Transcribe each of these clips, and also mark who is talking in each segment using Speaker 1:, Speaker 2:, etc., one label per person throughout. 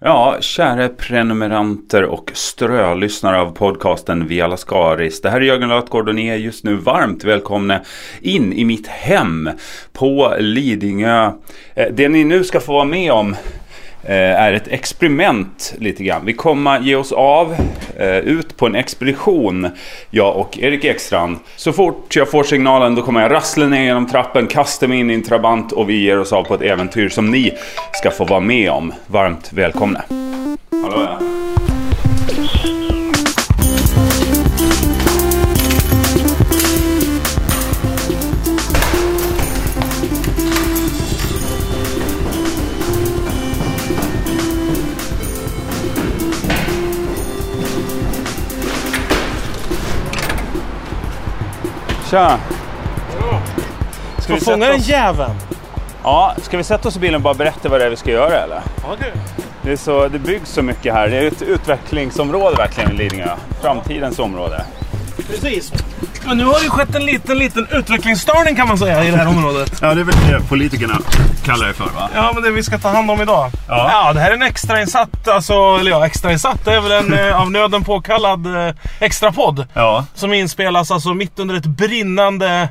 Speaker 1: Ja, kära prenumeranter och strölyssnare av podcasten Via Lascaris. Det här är Jörgen Lötgård och ni är just nu varmt välkomna in i mitt hem på Lidingö. Eh, Det ni nu ska få vara med om eh, är ett experiment lite grann. Vi kommer ge oss av eh, ut på en expedition, jag och Erik Ekstrand. Så fort jag får signalen då kommer jag rassla ner genom trappen, kasta mig in i en trabant och vi ger oss av på ett äventyr som ni ska få vara med om. Varmt välkomna. Hallå ja. Tja! Ska vi,
Speaker 2: Fånga
Speaker 1: sätta
Speaker 2: den
Speaker 1: oss,
Speaker 2: jäveln!
Speaker 1: ja, ska vi sätta oss i bilen och bara berätta vad det är vi ska göra eller?
Speaker 2: Ja du.
Speaker 1: Det, är så, det byggs så mycket här. Det är ett utvecklingsområde verkligen i Lidingö. Framtidens område.
Speaker 2: Precis. Men nu har det ju skett en liten, liten utvecklingsstörning kan man säga i det här området.
Speaker 1: Ja, det är väl det politikerna kallar det för va?
Speaker 2: Ja, men det vi ska ta hand om idag.
Speaker 1: Ja.
Speaker 2: det här är en extrainsatt, alltså, eller ja, extrainsatt. Det är väl en eh, av nöden påkallad eh, extrapodd.
Speaker 1: Ja,
Speaker 2: Som inspelas alltså mitt under ett brinnande,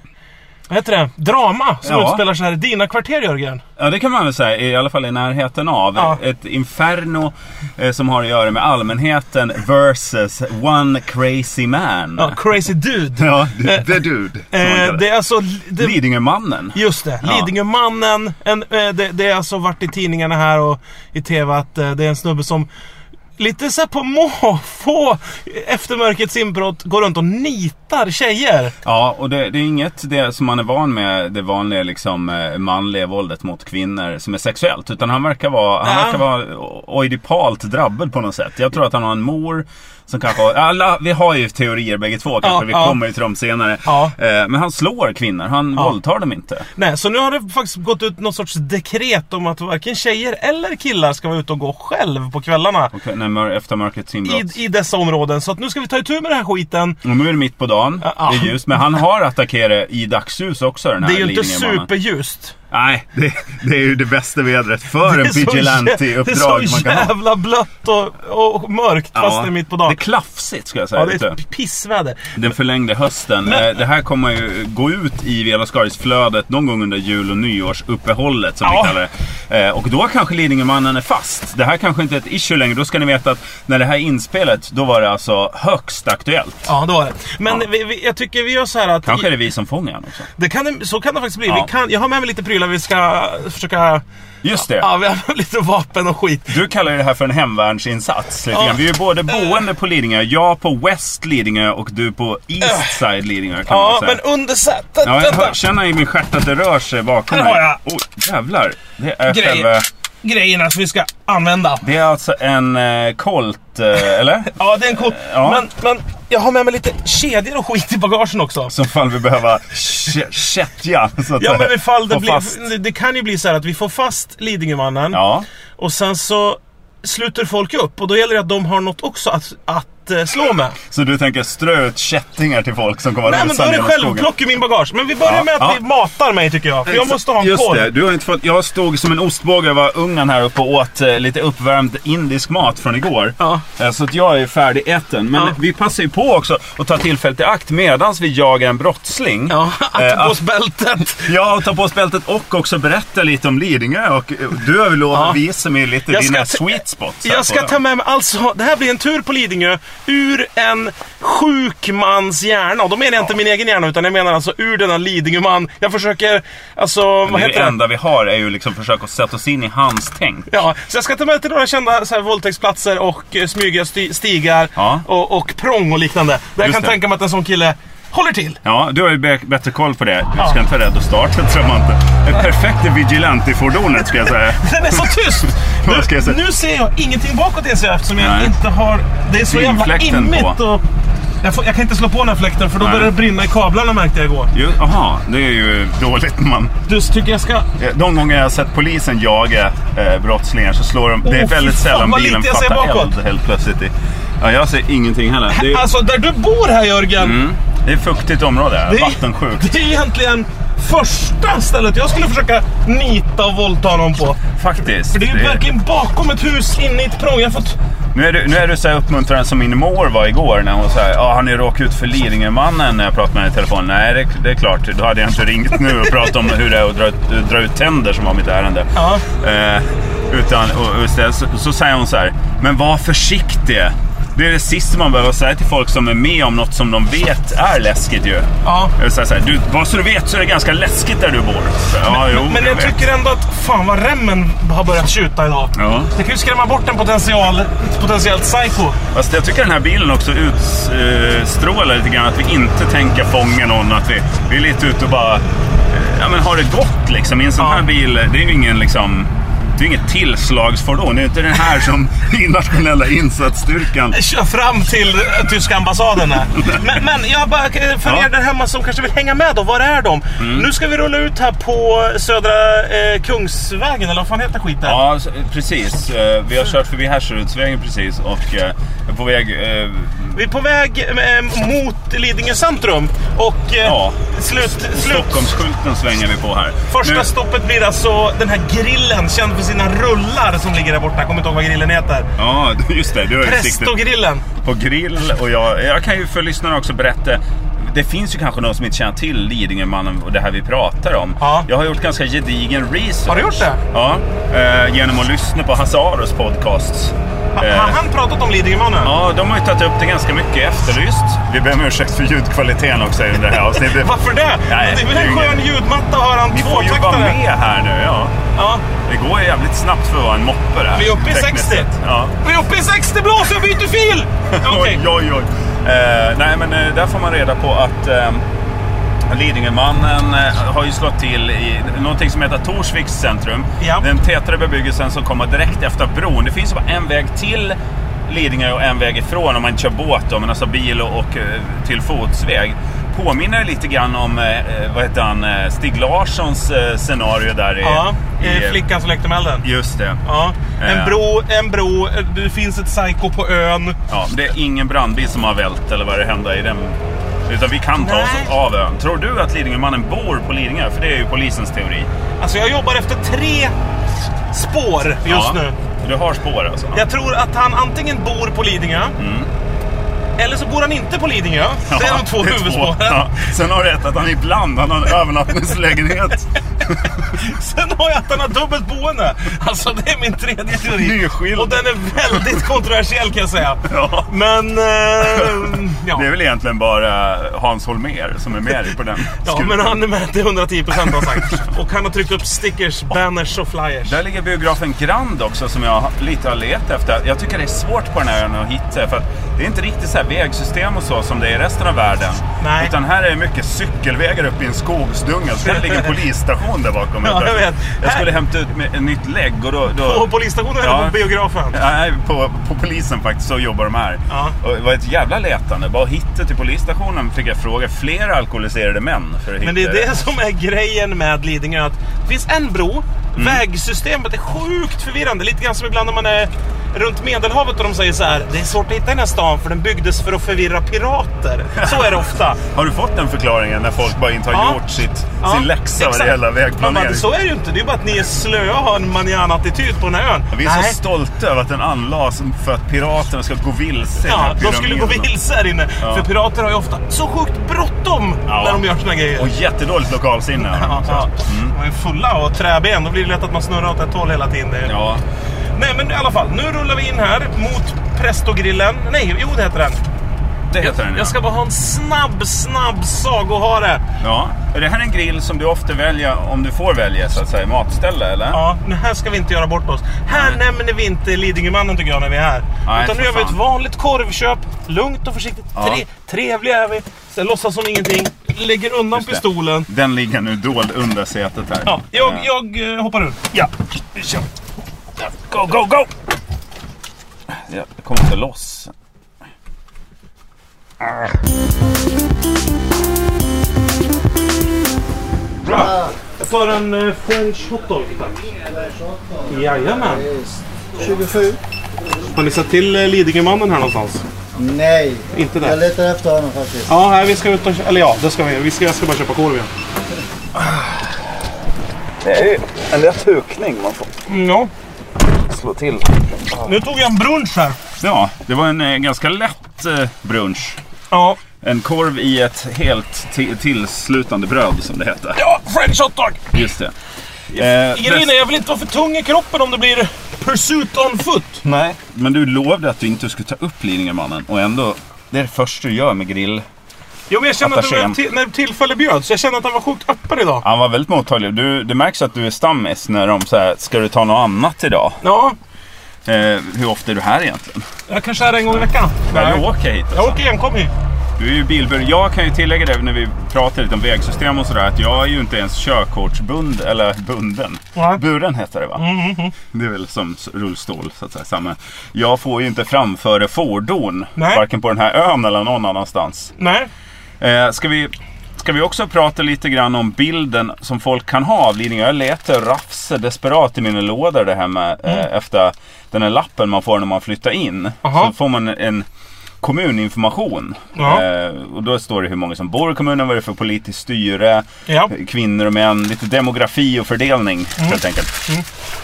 Speaker 2: vad heter det? Drama som
Speaker 1: Ja.
Speaker 2: utspelar sig här i dina kvarter Jörgen.
Speaker 1: ja, det kan man väl säga. I alla fall i närheten av.
Speaker 2: Ja.
Speaker 1: Ett inferno eh, som har att göra med allmänheten versus one crazy man.
Speaker 2: Ja, crazy dude.
Speaker 1: Ja, the dude. som man
Speaker 2: Eh,
Speaker 1: kallar
Speaker 2: det
Speaker 1: det.
Speaker 2: är alltså... Det,
Speaker 1: Lidingömannen.
Speaker 2: Just det,
Speaker 1: Ja.
Speaker 2: Lidingömannen. En, eh, det, det har alltså varit i tidningarna här och i TV att eh, det är en snubbe som lite så här på måfå efter mörkrets inbrott går runt och nitar tjejer.
Speaker 1: Ja, och det, det är inget det som man är van med, det vanliga liksom, eh, manliga våldet mot kvinnor som är sexuellt. Utan han verkar vara, han
Speaker 2: Ja.
Speaker 1: verkar vara o- oidipalt drabbad på något sätt. Jag tror att han har en mor som kanske har, alla, vi har ju teorier bägge två kanske,
Speaker 2: Ja,
Speaker 1: vi
Speaker 2: ja.
Speaker 1: kommer ju till dem senare.
Speaker 2: Ja.
Speaker 1: Eh, Men han slår kvinnor, han våldtar dem inte.
Speaker 2: Nej, så nu har det faktiskt gått ut någon sorts dekret om att varken tjejer eller killar ska vara ute och gå själv på kvällarna.
Speaker 1: Och när mör, efter mörkrets inbrott.
Speaker 2: I, I dessa områden. Så att nu ska vi ta itu med den här skiten.
Speaker 1: Och nu är det mitt på dagen,
Speaker 2: Ja, ja.
Speaker 1: det är ljust. Men han har attackerat i dagsljus också den här
Speaker 2: Det är ju inte
Speaker 1: Lidingömannen.
Speaker 2: superljust.
Speaker 1: Nej, det, det är ju det bästa vädret för
Speaker 2: Det
Speaker 1: en
Speaker 2: är så jä-
Speaker 1: vigilante-uppdrag
Speaker 2: Det är
Speaker 1: man
Speaker 2: så
Speaker 1: kan ha.
Speaker 2: jävla blött och, och mörkt fast det är mitt på dagen.
Speaker 1: Det är klafsigt ska jag säga.
Speaker 2: Ja, det är
Speaker 1: lite.
Speaker 2: ett pissväder.
Speaker 1: Den förlängde hösten. Eh, Det här kommer ju gå ut i Velascaris flödet någon gång under jul och nyårsuppehållet som
Speaker 2: Ja.
Speaker 1: vi kallar det. Eh, Och då kanske Lidingömannen är fast. Det här kanske inte är ett issue längre. Då ska ni veta att när det här är inspelet, då var det alltså högst aktuellt.
Speaker 2: Ja, det var det. Men vi, vi, jag tycker vi gör så här att...
Speaker 1: Kanske är det vi som fångar honom också.
Speaker 2: Det kan, det- så kan det faktiskt bli.
Speaker 1: Ja.
Speaker 2: Vi kan, jag har med mig lite prylar vi ska försöka...
Speaker 1: Just det.
Speaker 2: Ja, vi har med lite vapen och skit.
Speaker 1: Du kallar ju det här för en hemvärnsinsats. Lite
Speaker 2: Ja.
Speaker 1: grann. Vi är ju både boende på Lidingö, jag på West Lidingö och du på East Side Lidingö kan man
Speaker 2: Äh. Ja,
Speaker 1: säga.
Speaker 2: men under sätet.
Speaker 1: Ja, jag
Speaker 2: vänta.
Speaker 1: hör, känner i min stjärt att det rör sig bakom
Speaker 2: Här
Speaker 1: mig.
Speaker 2: har jag.
Speaker 1: Oh, jävlar. Det är
Speaker 2: Grejer.
Speaker 1: själva...
Speaker 2: Grejerna som vi ska använda.
Speaker 1: Det är alltså en eh, Colt, eh, eller?
Speaker 2: Ja, det är en cool.
Speaker 1: Ja.
Speaker 2: Men, men jag har med mig lite kedjor och skit i bagagen också.
Speaker 1: Som fall vi behöver kä- kättja. så att
Speaker 2: Ja,
Speaker 1: säga.
Speaker 2: men ifall det
Speaker 1: Få fast-
Speaker 2: blir... Det kan ju bli så här att vi får fast Lidingömannen.
Speaker 1: Ja.
Speaker 2: Och sen så sluter folk upp. Och då gäller det att de har något också att, att eh, slå med.
Speaker 1: Så du tänker strö ut kättingar till folk som kommer
Speaker 2: Nej men då är det
Speaker 1: genom skogen?
Speaker 2: självplock i min bagage. Men vi börjar
Speaker 1: Ja,
Speaker 2: med att
Speaker 1: ja.
Speaker 2: vi matar mig tycker jag. För jag måste ha en
Speaker 1: Just
Speaker 2: koll.
Speaker 1: det, du har inte fått... Jag stod som en ostbåge och var ungen här uppe och åt eh, lite uppvärmd indisk mat från igår.
Speaker 2: Ja.
Speaker 1: Eh, Så att jag är färdig äten. Men
Speaker 2: Ja.
Speaker 1: vi passar ju på också att ta tillfället i akt medans vi jagar en brottsling.
Speaker 2: Ja,
Speaker 1: Eh, att-
Speaker 2: attebåsbältet.
Speaker 1: Ja, och ta på oss bältet och också berätta lite om Lidingö. Och eh, du har väl lovat att visa mig lite
Speaker 2: Jag
Speaker 1: dina
Speaker 2: ska ta-
Speaker 1: sweet spots. här på
Speaker 2: Jag ska
Speaker 1: den.
Speaker 2: ta med mig, alltså det här blir en tur på Lidingö ur en sjuk mans hjärna. Och då menar jag inte min egen hjärna utan jag menar alltså ur denna Lidingöman. Jag försöker, alltså vad
Speaker 1: det
Speaker 2: heter det?
Speaker 1: enda vi har är ju liksom försöka sätta oss in i hans tänk.
Speaker 2: Ja, så jag ska ta med till några kända så här, våldtäktsplatser och eh, smyga sti- stigar
Speaker 1: Ja.
Speaker 2: och, och prång och liknande. Där jag
Speaker 1: Just
Speaker 2: kan
Speaker 1: det.
Speaker 2: tänka mig att en sån kille håller till.
Speaker 1: Ja, du har ju be- bättre koll på det. Du ska inte vara rädd att starta, tror man inte. Det perfekta vigilante-fordonet ska jag säga.
Speaker 2: Den är så tyst!
Speaker 1: Vad ska jag säga?
Speaker 2: Nu ser jag ingenting bakåt inser jag eftersom jag
Speaker 1: Nej.
Speaker 2: inte har... Det är så jävla
Speaker 1: Synfläkten
Speaker 2: immigt
Speaker 1: på.
Speaker 2: och... Jag, får, jag kan inte slå på den här fläkten för då
Speaker 1: Nej.
Speaker 2: börjar det brinna i kablarna märkte jag igår.
Speaker 1: Jo, Jaha, det är ju dåligt när man...
Speaker 2: Du tycker jag ska...
Speaker 1: Eh, De gånger jag har sett polisen jaga eh, brottslingar så slår de... det är
Speaker 2: Åh, fy
Speaker 1: väldigt
Speaker 2: fan,
Speaker 1: sällan
Speaker 2: vad
Speaker 1: bilen
Speaker 2: lite jag ser
Speaker 1: fattar
Speaker 2: bakåt.
Speaker 1: eld helt plötsligt. I, ja, jag ser ingenting heller. Det är,
Speaker 2: Alltså där du bor här Jörgen.
Speaker 1: mm, det är fuktigt område här.
Speaker 2: Det är-
Speaker 1: Vattensjukt.
Speaker 2: Det är egentligen första stället jag skulle försöka nita och våldta någon på.
Speaker 1: Faktiskt.
Speaker 2: För det är ju verkligen bakom ett hus inne i ett prång. Jag har fått...
Speaker 1: Nu är du, nu är du så här uppmuntrande som min mor var igår när hon sa ah, har ni råkat ut för Lidingömannen när jag pratade med henne i telefon? Nej, det, det är klart. Då hade jag inte ringt nu och pratat om hur det är att dra, ut- dra ut tänder som var mitt ärende.
Speaker 2: Ja.
Speaker 1: Eh, utan, och, och istället så, så säger hon så här, men var försiktig. Det är det sista man behöver säga till folk som är med om något som de vet är läskigt ju.
Speaker 2: Ja.
Speaker 1: Jag säger så här, du, bara så du vet så är det ganska läskigt där du bor. Så, ja, jo,
Speaker 2: Men jag
Speaker 1: vet."
Speaker 2: tycker ändå att fan vad remmen har börjat tjuta idag.
Speaker 1: Ja.
Speaker 2: Det kan ju skrämma bort en potential, ett potentiellt psycho.
Speaker 1: Fast jag tycker den här bilen också utstrålar lite grann att vi inte tänker fånga någon. Att vi, vi är lite ute och bara eh, ja, men har det gott liksom. I en sån
Speaker 2: Ja.
Speaker 1: här bil, det är ju ingen liksom... Det är ju inget tillslagsfordon. Det är inte den här som internationella insatsstyrkan.
Speaker 2: Kör fram till eh, tyska ambassaden här. Men, men jag bara, eh, för
Speaker 1: Ja. Mm.
Speaker 2: er där hemma som kanske vill hänga med då, var är de? Nu ska vi rulla ut här på Södra eh, Kungsvägen, eller vad fan heter skiten?
Speaker 1: Ja, s- precis. Eh, Vi har kört förbi Hässerudsvägen precis och eh, är på väg... eh,
Speaker 2: Vi är på väg eh, mot Lidingö centrum och eh,
Speaker 1: Ja.
Speaker 2: slut, slut,
Speaker 1: Stockholmsskylten svänger vi på här.
Speaker 2: Första
Speaker 1: Nu-
Speaker 2: stoppet blir alltså den här grillen, känd för sina rullar som ligger där borta. Jag kommer inte ihåg vad grillen heter.
Speaker 1: Ja, just det. Du har ju siktet-
Speaker 2: Prestogrillen.
Speaker 1: på grill och jag, jag kan ju för lyssnarna också berätta det finns ju kanske någon som inte känner till Lidingömannen och det här vi pratar om.
Speaker 2: Ja.
Speaker 1: Jag har gjort ganska gedigen research.
Speaker 2: Har du gjort det?
Speaker 1: Ja, eh, genom att lyssna på Hasse Aros podcast.
Speaker 2: Ha-
Speaker 1: Eh,
Speaker 2: Har han pratat om Lidingömannen?
Speaker 1: ja, de har ju tagit upp det ganska mycket i efterlyst. Vi ber om ursäkt för ljudkvaliteten också i det här avsnittet.
Speaker 2: Varför det?
Speaker 1: Nej,
Speaker 2: det är väl
Speaker 1: det är
Speaker 2: en
Speaker 1: ingen-
Speaker 2: skön ljudmatta har han
Speaker 1: Ni får ju vara
Speaker 2: tvåtaktare?
Speaker 1: med här nu. Ja.
Speaker 2: Ja.
Speaker 1: Det går ju jävligt snabbt för att vara en moppe det här.
Speaker 2: Vi är uppe i
Speaker 1: tekniskt
Speaker 2: 60.
Speaker 1: sett. Ja.
Speaker 2: Vi är uppe i 60 blås, jag byter fil! Okej.
Speaker 1: Oj, oj, oj. Eh, nej, men eh, där får man reda på att eh, Lidingömannen eh, har ju slått till i någonting som heter Torsviks centrum.
Speaker 2: Ja.
Speaker 1: Den tätare bebyggelsen som kommer direkt efter bron. Det finns bara en väg till Lidingö och en väg ifrån om man inte kör båt då, men alltså bil och, och eh, till fotsväg. Påminner lite grann om, eh, eh, vad heter han, eh, Stig Larssons eh, scenario där i...
Speaker 2: Ja,
Speaker 1: i-
Speaker 2: eh, flickan som lekte med elden.
Speaker 1: Just det.
Speaker 2: Ja. En
Speaker 1: Eh.
Speaker 2: bro, en bro, eh, det finns ett psyko på ön.
Speaker 1: Ja, men det är ingen brandbil som har vält eller vad det hände i den. Utan vi kan ta
Speaker 2: Nej.
Speaker 1: oss av ön. Tror du att Lidingömannen bor på Lidingö? För det är ju polisens teori.
Speaker 2: Alltså jag jobbar efter tre spår just
Speaker 1: Ja.
Speaker 2: nu.
Speaker 1: Du har spår alltså?
Speaker 2: Jag tror att han antingen bor på Lidingö.
Speaker 1: Mm.
Speaker 2: Eller så bor han inte på Lidingö. Det är de två
Speaker 1: det är
Speaker 2: huvudspåren.
Speaker 1: Ja. Sen har du rätt att han ibland han har en övernattningslägenhet.
Speaker 2: Sen har jag att han har dubbelt boende. Alltså det är min tredje teori.
Speaker 1: Nyskild.
Speaker 2: Och den är väldigt kontroversiell kan jag säga.
Speaker 1: Ja.
Speaker 2: Men... Eh, ja.
Speaker 1: Det är väl egentligen bara Hans Holmér som är med på den
Speaker 2: ja,
Speaker 1: skutan.
Speaker 2: men han är med till 110% har han sagt. Och han har tryckt upp stickers, banners och flyers.
Speaker 1: Där ligger biografen Grand också som jag lite har letat efter. Jag tycker det är svårt på den här ön att hitta för att det är inte riktigt så här vägsystem och så som det är i resten av världen.
Speaker 2: Nej.
Speaker 1: Utan här är det mycket cykelvägar upp i en skogsdunge. Så där ligger en polisstation där bakom.
Speaker 2: Ja, jag vet.
Speaker 1: jag skulle hämta ut med ett nytt lägg och då... då...
Speaker 2: Och polisstationen eller
Speaker 1: Ja.
Speaker 2: på biografen.
Speaker 1: Nej, på, på polisen faktiskt, så jobbar de här.
Speaker 2: Ja.
Speaker 1: Och det var ett jävla letande. Bara att hitta till polisstationen fick jag fråga flera alkoholiserade män för att hitta
Speaker 2: Men det är det som är grejen med Lidingö. Att det finns en bro.
Speaker 1: Mm.
Speaker 2: Vägsystemet är sjukt förvirrande. Lite grann som ibland när man är runt Medelhavet och de säger så här. Det är svårt att hitta den här stan för den byggdes för att förvirra pirater. Så är det ofta.
Speaker 1: Har du fått den förklaringen när folk bara inte har
Speaker 2: Ja.
Speaker 1: gjort sitt,
Speaker 2: Ja,
Speaker 1: sin läxa vad det
Speaker 2: exakt.
Speaker 1: gäller
Speaker 2: Man bara,
Speaker 1: vägplanering?
Speaker 2: Så är det ju inte. Det är bara att ni är slöa och har en manana-attityd på den här ön.
Speaker 1: Vi är så stolta över att den anlades för att piraterna ska gå vilse i den här
Speaker 2: Ja, de skulle gå
Speaker 1: pyramiden.
Speaker 2: vilse här inne.
Speaker 1: Ja.
Speaker 2: För pirater har ju ofta så sjukt bråttom
Speaker 1: Ja.
Speaker 2: när de gör sina grejer.
Speaker 1: Och jättedåligt lokalsinne. har de
Speaker 2: Ja,
Speaker 1: också.
Speaker 2: ja.
Speaker 1: Mm.
Speaker 2: De är fulla och träben. Då blir det lätt att man snurrar åt ett håll hela tiden. Det är-
Speaker 1: ja.
Speaker 2: Nej, men i alla fall. Nu rullar vi in här mot Prestogrillen. Nej, jo det heter den.
Speaker 1: det heter den.
Speaker 2: Jag ska bara ha en snabb, snabb sagohare.
Speaker 1: ja. Är det här en grill som du ofta väljer om du får välja så att säga, matställe eller?
Speaker 2: Ja, men här ska vi inte göra bort oss. Här
Speaker 1: Nej.
Speaker 2: nämner vi inte Lidingömannen tycker jag när vi är här.
Speaker 1: Nej,
Speaker 2: Utan nu
Speaker 1: för
Speaker 2: gör vi ett
Speaker 1: fan.
Speaker 2: vanligt korvköp. Lugnt och försiktigt.
Speaker 1: Ja.
Speaker 2: Tre, trevliga är vi. Sen låtsas som ingenting. Lägger undan
Speaker 1: Just det.
Speaker 2: pistolen.
Speaker 1: Den ligger nu dold under sätet här.
Speaker 2: Ja,
Speaker 1: Eh,
Speaker 2: jag, jag eh, hoppar ur.
Speaker 1: ja. vi kör. Go, go, go! Jag kommer inte loss.
Speaker 2: Jag tar en eh, french hotdog tack. Jajamän.
Speaker 3: 27?
Speaker 2: Har ni sett till eh, Lidingömannen här någonstans?
Speaker 3: Nej,
Speaker 2: Inte
Speaker 3: jag
Speaker 2: där?
Speaker 3: letar efter honom faktiskt.
Speaker 2: Ja, här, vi ska ut och... Eller ja, det ska vi. vi ska, jag ska bara köpa korv igen.
Speaker 1: Det är ju en lätt hukning man får
Speaker 2: Mm, ja.
Speaker 1: slå till.
Speaker 2: Nu tog jag en brunch här.
Speaker 1: Ja, det var en eh, ganska lätt eh, brunch.
Speaker 2: Ja.
Speaker 1: En korv i ett helt ti- tillslutande bröd som det heter.
Speaker 2: Ja, French hot dog!
Speaker 1: Just det. Eh,
Speaker 2: Grejen
Speaker 1: bäst-
Speaker 2: är, jag vill inte vara för tung i kroppen om det blir pursuit on foot.
Speaker 1: Nej, men du lovade att du inte skulle ta upp Lidingömannen och ändå, det är det första du gör med grill.
Speaker 2: Jo, men jag känner att det var
Speaker 1: Attachén.
Speaker 2: till, när tillfälle bjöds. Jag känner att han var sjukt öppen idag.
Speaker 1: Han var väldigt mottaglig. Du, det märks att du är stammis när de säger ska du ta något annat idag?
Speaker 2: Ja,
Speaker 1: Eh, hur ofta är du här egentligen?
Speaker 2: jag kanske är det en gång i veckan.
Speaker 1: Nej. Du åker hit
Speaker 2: Jag
Speaker 1: alltså.
Speaker 2: åker enkom hit.
Speaker 1: Du är ju bilburen. Jag kan ju tillägga det när vi pratar lite om vägsystem och sådär att jag är ju inte ens körkortsbund eller bunden.
Speaker 2: Nej. Mm,
Speaker 1: Buren heter det va? Det är väl som s- rullstol så att säga. Samma. Jag får ju inte framföra fordon.
Speaker 2: Nej.
Speaker 1: Varken på den här ön eller någon annanstans.
Speaker 2: Nej.
Speaker 1: Eh, ska, vi, ska vi också prata lite grann om bilden som folk kan ha av Lidingö? Jag letar rafse desperat i mina lådor det här med, eh, efter den här lappen man får när man flyttar in.
Speaker 2: Mm. Aha.
Speaker 1: Så får man en kommuninformation.
Speaker 2: Ja.
Speaker 1: Eh, och då står det hur många som bor i kommunen, vad det är för politiskt styre,
Speaker 2: Ja.
Speaker 1: kvinnor och män, lite demografi och fördelning
Speaker 2: Mm.
Speaker 1: helt enkelt.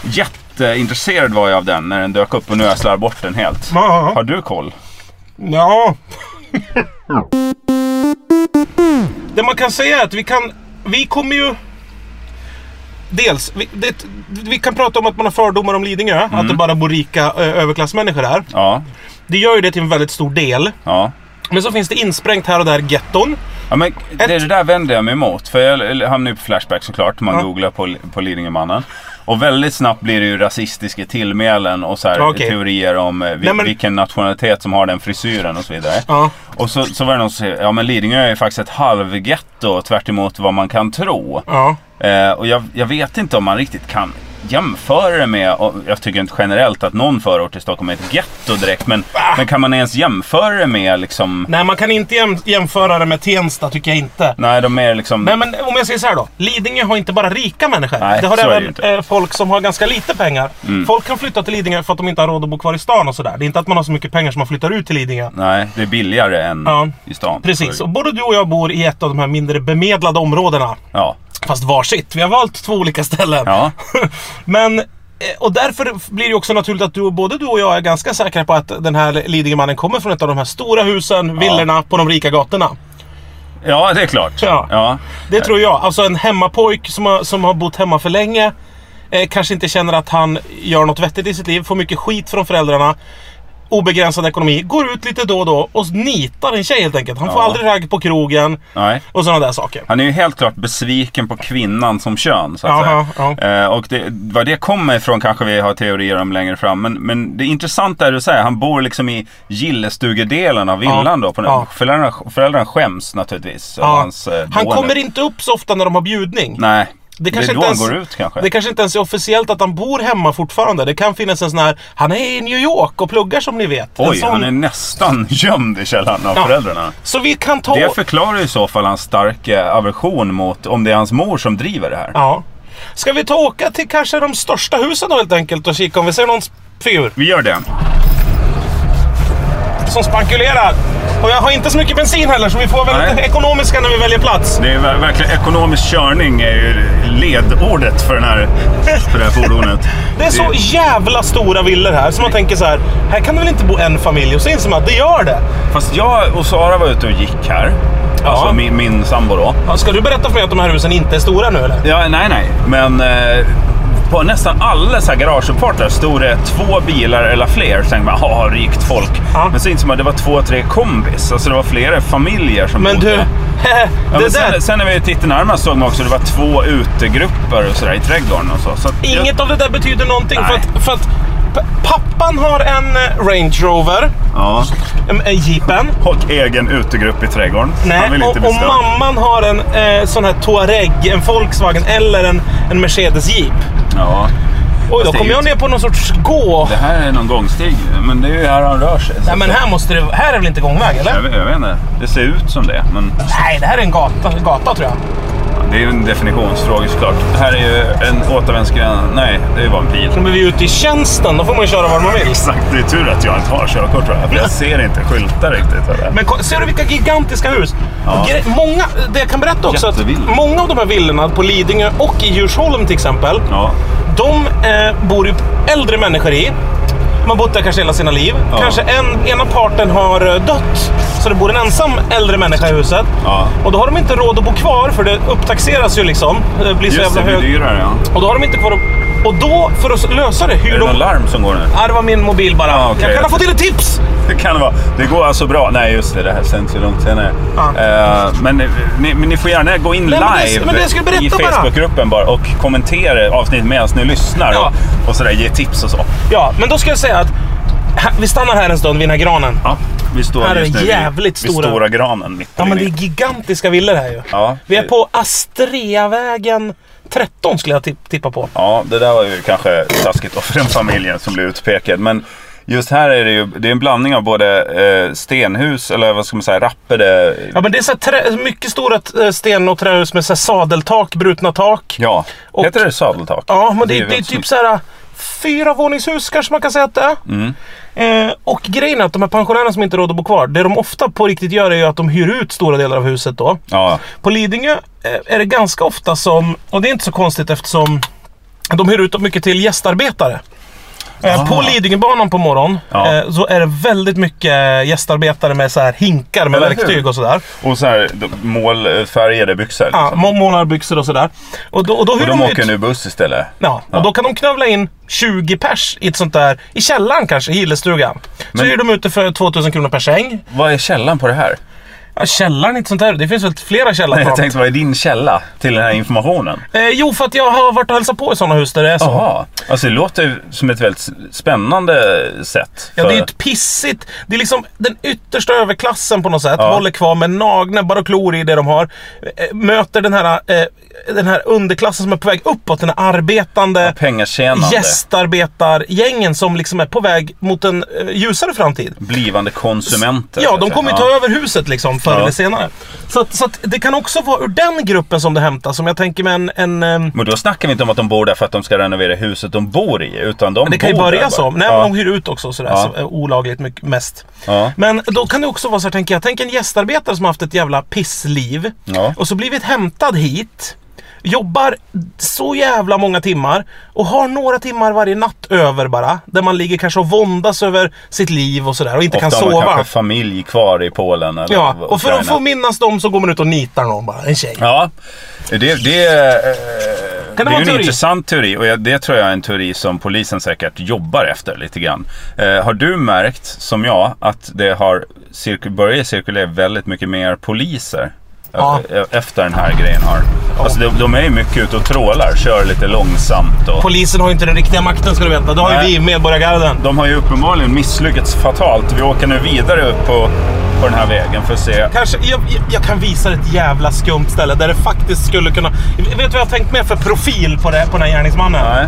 Speaker 1: Jätteintresserad var jag av den när den dök upp och nu har jag slarvat bort den helt.
Speaker 2: Ja.
Speaker 1: Har du koll?
Speaker 2: Ja. Det man kan säga är att vi kan... Vi kommer ju... Dels, vi, det, vi kan prata om att man har fördomar om Lidingö. Att det bara bor rika eh, överklassmänniskor här.
Speaker 1: Ja.
Speaker 2: Det gör ju det till en väldigt stor del.
Speaker 1: ja.
Speaker 2: Men så finns det insprängt här och där getton.
Speaker 1: Ja, men det, det där vänder jag mig emot. För jag l- hamnar ju på Flashback såklart. Man
Speaker 2: Ja.
Speaker 1: googlar på, på Lidingömannen. Och väldigt snabbt blir det ju rasistiska tillmälen och så här
Speaker 2: Ja, okej.
Speaker 1: teorier om eh, vi,
Speaker 2: Nej, men-
Speaker 1: vilken nationalitet som har den frisyren och så vidare.
Speaker 2: Ja.
Speaker 1: Och så, så var det någon som säger, ja men Lidingö är ju faktiskt ett halvgetto tvärt emot vad man kan tro.
Speaker 2: Ja.
Speaker 1: Eh, och jag, jag vet inte om man riktigt kan jämföra det med, och jag tycker inte generellt att någon förort i Stockholm är ett getto direkt. Men,
Speaker 2: Ah!
Speaker 1: men kan man ens jämföra det med liksom,
Speaker 2: Nej, man kan inte jäm, jämföra det med Tensta tycker jag inte.
Speaker 1: nej de är liksom
Speaker 2: Nej men om jag säger så här då. Lidingö har inte bara rika människor.
Speaker 1: Nej,
Speaker 2: det har
Speaker 1: så är det ju
Speaker 2: även
Speaker 1: inte. Mm.
Speaker 2: eh, folk som har ganska lite pengar. Folk kan flytta till Lidingö för att de inte har råd att bo kvar i stan och sådär. Det är inte att man har så mycket pengar som man flyttar ut till Lidingö.
Speaker 1: Nej, det är billigare än
Speaker 2: Ja,
Speaker 1: i stan.
Speaker 2: Precis,
Speaker 1: Så-
Speaker 2: och både du och jag bor i ett av de här mindre bemedlade områdena.
Speaker 1: Ja.
Speaker 2: Fast varsitt. Vi har valt två olika ställen.
Speaker 1: ja.
Speaker 2: Men, eh, och därför blir det också naturligt att du, både du och jag är ganska säkra på att den här Lidingömannen kommer från ett av de här stora husen, villorna på de rika gatorna.
Speaker 1: ja, det är klart.
Speaker 2: Ja.
Speaker 1: Ja.
Speaker 2: Det tror jag. Alltså en hemmapojk som har, som har bott hemma för länge. Eh, kanske inte känner att han gör något vettigt i sitt liv. Får mycket skit från föräldrarna. Obegränsad ekonomi. Går ut lite då och då och nitar en tjej helt enkelt. Han får
Speaker 1: Ja.
Speaker 2: aldrig ragg på krogen.
Speaker 1: Nej.
Speaker 2: Och sådana där saker.
Speaker 1: Han är ju helt klart besviken på kvinnan som kön. Så att
Speaker 2: Jaha,
Speaker 1: säga. Eh, och det, vad det kommer ifrån kanske vi har teorier om längre fram. Men, men det intressanta är att säga, han bor liksom i gillestugedelen av villan då. På den,
Speaker 2: Ja.
Speaker 1: föräldrarna, föräldrarna skäms naturligtvis.
Speaker 2: Ja.
Speaker 1: över Hans, eh,
Speaker 2: han
Speaker 1: boende.
Speaker 2: kommer inte upp så ofta när de har bjudning.
Speaker 1: Nej.
Speaker 2: Det kanske
Speaker 1: är då
Speaker 2: inte
Speaker 1: han
Speaker 2: ens-
Speaker 1: går ut kanske.
Speaker 2: Det kanske inte ens är officiellt att han bor hemma fortfarande. Det kan finnas en sån här, han är i New York och pluggar som ni vet. en
Speaker 1: Oj,
Speaker 2: sån...
Speaker 1: han är nästan gömd i källaren av
Speaker 2: Ja.
Speaker 1: föräldrarna.
Speaker 2: Så vi kan ta...
Speaker 1: Det förklarar i så fall hans starka aversion mot om det är hans mor som driver det här.
Speaker 2: Ja. Ska vi ta och åka till kanske de största husen då helt enkelt och kika om vi ser någon figur
Speaker 1: Vi gör det.
Speaker 2: som spankulerar? Och jag har inte så mycket bensin heller så vi får vara
Speaker 1: Nej.
Speaker 2: lite ekonomiska när vi väljer plats.
Speaker 1: Det är ver- verkligen ekonomisk körning är ju ledordet för, den här, för det här fordonet.
Speaker 2: Det är så jävla stora villor här så man tänker så här, här kan det väl inte bo en familj? Och så inser man att det gör det.
Speaker 1: Fast jag och Sara var ute och gick här. Alltså min, min sambo då.
Speaker 2: Ja, Ska du berätta för mig att de här husen inte är stora nu eller?
Speaker 1: Ja, nej, nej. Men eh, på nästan alla så här garageuppfarter stod det två bilar eller fler. Så tänkte man, ha rikt folk.
Speaker 2: Ja.
Speaker 1: Men så insåg man att det var två, tre kombis. Alltså det var flera familjer som
Speaker 2: Men
Speaker 1: bodde.
Speaker 2: du,
Speaker 1: Ja,
Speaker 2: det
Speaker 1: men
Speaker 2: där.
Speaker 1: sen, sen när vi tittade närmare såg man också att det var två utegrupper och sådär i trädgården och så. så att jag-
Speaker 2: Inget av det där betyder någonting för
Speaker 1: Nej.
Speaker 2: att, för att p- pappan har en eh, Range Rover,
Speaker 1: Ja.
Speaker 2: en, en Jeepen.
Speaker 1: Och egen utegrupp i trädgården.
Speaker 2: Nej,
Speaker 1: Han vill
Speaker 2: och,
Speaker 1: inte
Speaker 2: och
Speaker 1: bli störd.
Speaker 2: mamman har en eh, sån här Touareg, en Volkswagen eller en, en Mercedes Jeep.
Speaker 1: Ja.
Speaker 2: Oj, då
Speaker 1: det är
Speaker 2: kommer
Speaker 1: ju
Speaker 2: jag ner på någon sorts gå.
Speaker 1: Det här är någon gångstig, men det är ju här han rör sig. så
Speaker 2: Nej, men
Speaker 1: att-
Speaker 2: här, måste det, här är väl inte gångväg,
Speaker 1: jag,
Speaker 2: eller?
Speaker 1: vet- jag vet inte, det ser ut som det. Men
Speaker 2: Nej, det här är en gata, gata tror jag.
Speaker 1: Det är ju en definitionsfråga såklart. Här är ju en återvändsgränd. Nej, det är ju bara en pil.
Speaker 2: Men vi är ute i tjänsten, då får man ju köra vad man vill.
Speaker 1: Exakt, det är tur att jag inte har körkort tror jag. För jag ser inte skyltar riktigt. Eller?
Speaker 2: Men ko- ser du vilka gigantiska hus?
Speaker 1: Ja.
Speaker 2: Och gre- Många, det jag kan berätta också att
Speaker 1: Jättevillor.
Speaker 2: många av de här villorna på Lidingö och i Djursholm till exempel,
Speaker 1: Ja.
Speaker 2: de eh, bor ju äldre människor i. Man har bott där kanske hela sina liv.
Speaker 1: Ja.
Speaker 2: Kanske en, ena parten har eh, dött, så det bor en ensam äldre människa i huset.
Speaker 1: Ja.
Speaker 2: Och då har de inte råd att bo kvar för det upptaxeras ju liksom. Det blir så
Speaker 1: Just det,
Speaker 2: jävla
Speaker 1: det blir
Speaker 2: hög...
Speaker 1: dyrare ja.
Speaker 2: Och då har de inte kvar att... Och då, för att lösa det,
Speaker 1: Är
Speaker 2: hyr
Speaker 1: det något
Speaker 2: de...
Speaker 1: larm som går nu?
Speaker 2: Ja, det var min mobil bara.
Speaker 1: Ja, okej.
Speaker 2: Jag kan ha fått till ett tips!
Speaker 1: Det kan det vara. Det går alltså bra. Nej, just det. Det här sänds ju långt senare.
Speaker 2: Ja.
Speaker 1: Eh, men, ni, men ni får gärna gå in
Speaker 2: Nej, men det-
Speaker 1: live
Speaker 2: men det ska jag berätta
Speaker 1: i
Speaker 2: bara.
Speaker 1: Facebookgruppen bara och kommentera avsnittet medan ni lyssnar.
Speaker 2: Ja.
Speaker 1: Och, och sådär, ge tips och så.
Speaker 2: Ja, men då ska jag säga att här- vi stannar här en stund vid den här granen.
Speaker 1: Ja, vi står
Speaker 2: Här är
Speaker 1: just nu
Speaker 2: jävligt
Speaker 1: vid,
Speaker 2: stora-
Speaker 1: vid stora granen mitt
Speaker 2: Ja, men det
Speaker 1: i.
Speaker 2: är gigantiska villor här ju.
Speaker 1: Ja.
Speaker 2: Vi är på Astreavägen 13 skulle jag tipp- tippa på.
Speaker 1: Ja, det där var ju kanske taskigt då för den familjen som blev utpekad. Men just här är det ju det är en blandning av både eh, stenhus, eller vad ska man säga, rappade...
Speaker 2: Ja, men det är så här trä, mycket stora eh, sten och trähus med så här sadeltak, brutna tak.
Speaker 1: Ja,
Speaker 2: Och-
Speaker 1: heter det sadeltak?
Speaker 2: Ja, men det, det,
Speaker 1: väl
Speaker 2: är
Speaker 1: som-
Speaker 2: typ så här fyra våningshus kanske man kan säga att det är.
Speaker 1: Mm.
Speaker 2: Eh, och grejen är att de här pensionärerna som inte har råd att bo kvar, det de ofta på riktigt gör är ju att de hyr ut stora delar av huset då.
Speaker 1: Ja,
Speaker 2: På Lidingö eh, är det ganska ofta som, och det är inte så konstigt eftersom de hyr ut mycket till gästarbetare. Eh,
Speaker 1: Ah.
Speaker 2: På Lidingöbanan på morgonen
Speaker 1: Ja.
Speaker 2: eh, så är det väldigt mycket gästarbetare med så här hinkar med
Speaker 1: Eller hur?
Speaker 2: verktyg och sådär.
Speaker 1: och så här de- målfärgade byxor.
Speaker 2: Ja,
Speaker 1: liksom.
Speaker 2: må- målarbyxor och sådär. Och då, och då hyr
Speaker 1: Och de
Speaker 2: de
Speaker 1: åker
Speaker 2: ut...
Speaker 1: nu buss istället.
Speaker 2: Ja, och då kan de knövla in 20 pers i ett sånt där, i källaren kanske, i gillestugan. Så
Speaker 1: Men-
Speaker 2: hyr de ut det för 2000 kronor per säng.
Speaker 1: Vad är källan på det här?
Speaker 2: Ja, källaren är inte sånt där, det finns väl flera källare.
Speaker 1: Jag tänkte, vad är din källa till den här informationen?
Speaker 2: eh, jo, för att jag har varit och hälsat på i sådana hus där det är så.
Speaker 1: Jaha, alltså det låter ju som ett väldigt spännande sätt.
Speaker 2: Ja, det är ju
Speaker 1: för-
Speaker 2: ett pissigt. Det är liksom den yttersta överklassen på något sätt.
Speaker 1: Ja.
Speaker 2: Håller kvar med nagnäbbar och klor i det de har. Eh, Möter den här, eh, den här underklassen som är på väg uppåt. Den här arbetande
Speaker 1: pengatjänande.
Speaker 2: gästarbetargängen som liksom är på väg mot en eh, ljusare framtid.
Speaker 1: Blivande konsumenter.
Speaker 2: Ja, de
Speaker 1: kanske.
Speaker 2: kommer ju ta över huset liksom förr
Speaker 1: Ja.
Speaker 2: eller senare. Så, att, så att det kan också vara ur den gruppen som det hämtas. Som jag tänker med en... en ehm,
Speaker 1: Men då snackar vi inte om att de bor där för att de ska renovera huset de bor i. Utan de
Speaker 2: Det kan ju
Speaker 1: bor där
Speaker 2: börja
Speaker 1: bara.
Speaker 2: så. Nej,
Speaker 1: ja.
Speaker 2: men de hyr ut också sådär,
Speaker 1: Ja.
Speaker 2: så, eh, olagligt mycket, mest.
Speaker 1: Ja.
Speaker 2: Men då kan det också vara så här, tänker jag. Tänk en gästarbetare som har haft ett jävla pissliv.
Speaker 1: Ja.
Speaker 2: Och så blivit hämtad hit. Jobbar så jävla många timmar och har några timmar varje natt över bara. Där man ligger kanske och våndas över sitt liv och sådär och inte
Speaker 1: Ofta
Speaker 2: kan
Speaker 1: har man
Speaker 2: sova.
Speaker 1: kanske familj kvar i Polen eller
Speaker 2: Ja, och för att
Speaker 1: Ukraina.
Speaker 2: få minnas dem så går man ut och nitar någon bara. En tjej.
Speaker 1: Ja, det, det, eh, det
Speaker 2: vara
Speaker 1: är
Speaker 2: en
Speaker 1: ju en
Speaker 2: teori?
Speaker 1: intressant teori och jag, det tror jag är en teori som polisen säkert jobbar efter lite grann. Eh, har du märkt, som jag, att det har cirku- börjat cirkulera väldigt mycket mer poliser?
Speaker 2: Ja.
Speaker 1: eh, Efter den här grejen har. Alltså de, de är ju mycket ute och trålar, kör lite långsamt och...
Speaker 2: Polisen har ju inte den riktiga makten ska du veta. Det har
Speaker 1: Nej.
Speaker 2: ju vi, medborgargarden.
Speaker 1: De har ju uppenbarligen misslyckats fatalt. Vi åker nu vidare upp på, på den här vägen för att se.
Speaker 2: Kanske, jag, jag- jag kan visa dig ett jävla skumt ställe där det faktiskt skulle kunna... Vet du vad jag har tänkt mer för profil på, det, på den här gärningsmannen?
Speaker 1: Nej.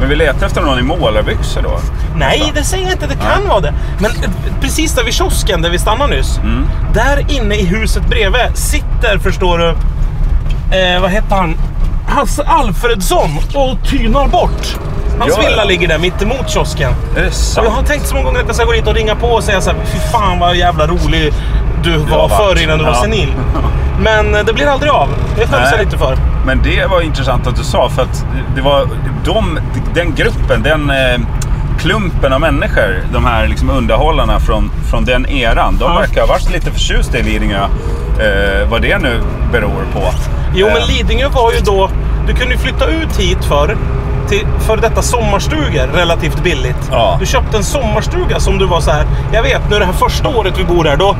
Speaker 1: Men vi letar efter någon i målarbyxor då.
Speaker 2: Nej, det säger jag inte. Det kan vara det. Men eh, precis där vid kiosken där vi stannade nyss.
Speaker 1: Mm.
Speaker 2: Där inne i huset bredvid sitter, förstår du, eh, vad heter han? Hasse Alfredsson och tynar bort. Hans
Speaker 1: Ja, ja.
Speaker 2: villa ligger där mittemot kiosken.
Speaker 1: Är det
Speaker 2: Och
Speaker 1: sant?
Speaker 2: jag har tänkt så många gånger att jag ska gå dit och ringa på och säga så här, fy fan vad jävla rolig du var
Speaker 1: har varit."
Speaker 2: förr innan du
Speaker 1: Ja.
Speaker 2: var senil. Men eh, det blir aldrig av. Det skäms jag
Speaker 1: Nej.
Speaker 2: lite för.
Speaker 1: Men det var intressant att du sa för att det var de, den gruppen, den eh, klumpen av människor, de här liksom underhållarna från, från den eran, de
Speaker 2: Ja.
Speaker 1: verkar ha varit lite förtjusta i Lidingö. Eh, vad det nu beror på.
Speaker 2: Jo,
Speaker 1: Eh,
Speaker 2: men Lidingö var ju då... Du kunde ju flytta ut hit förr till för detta sommarstugor relativt billigt.
Speaker 1: Ja.
Speaker 2: Du köpte en sommarstuga som du var så här. Jag vet, nu är det här första året vi bor här. Då,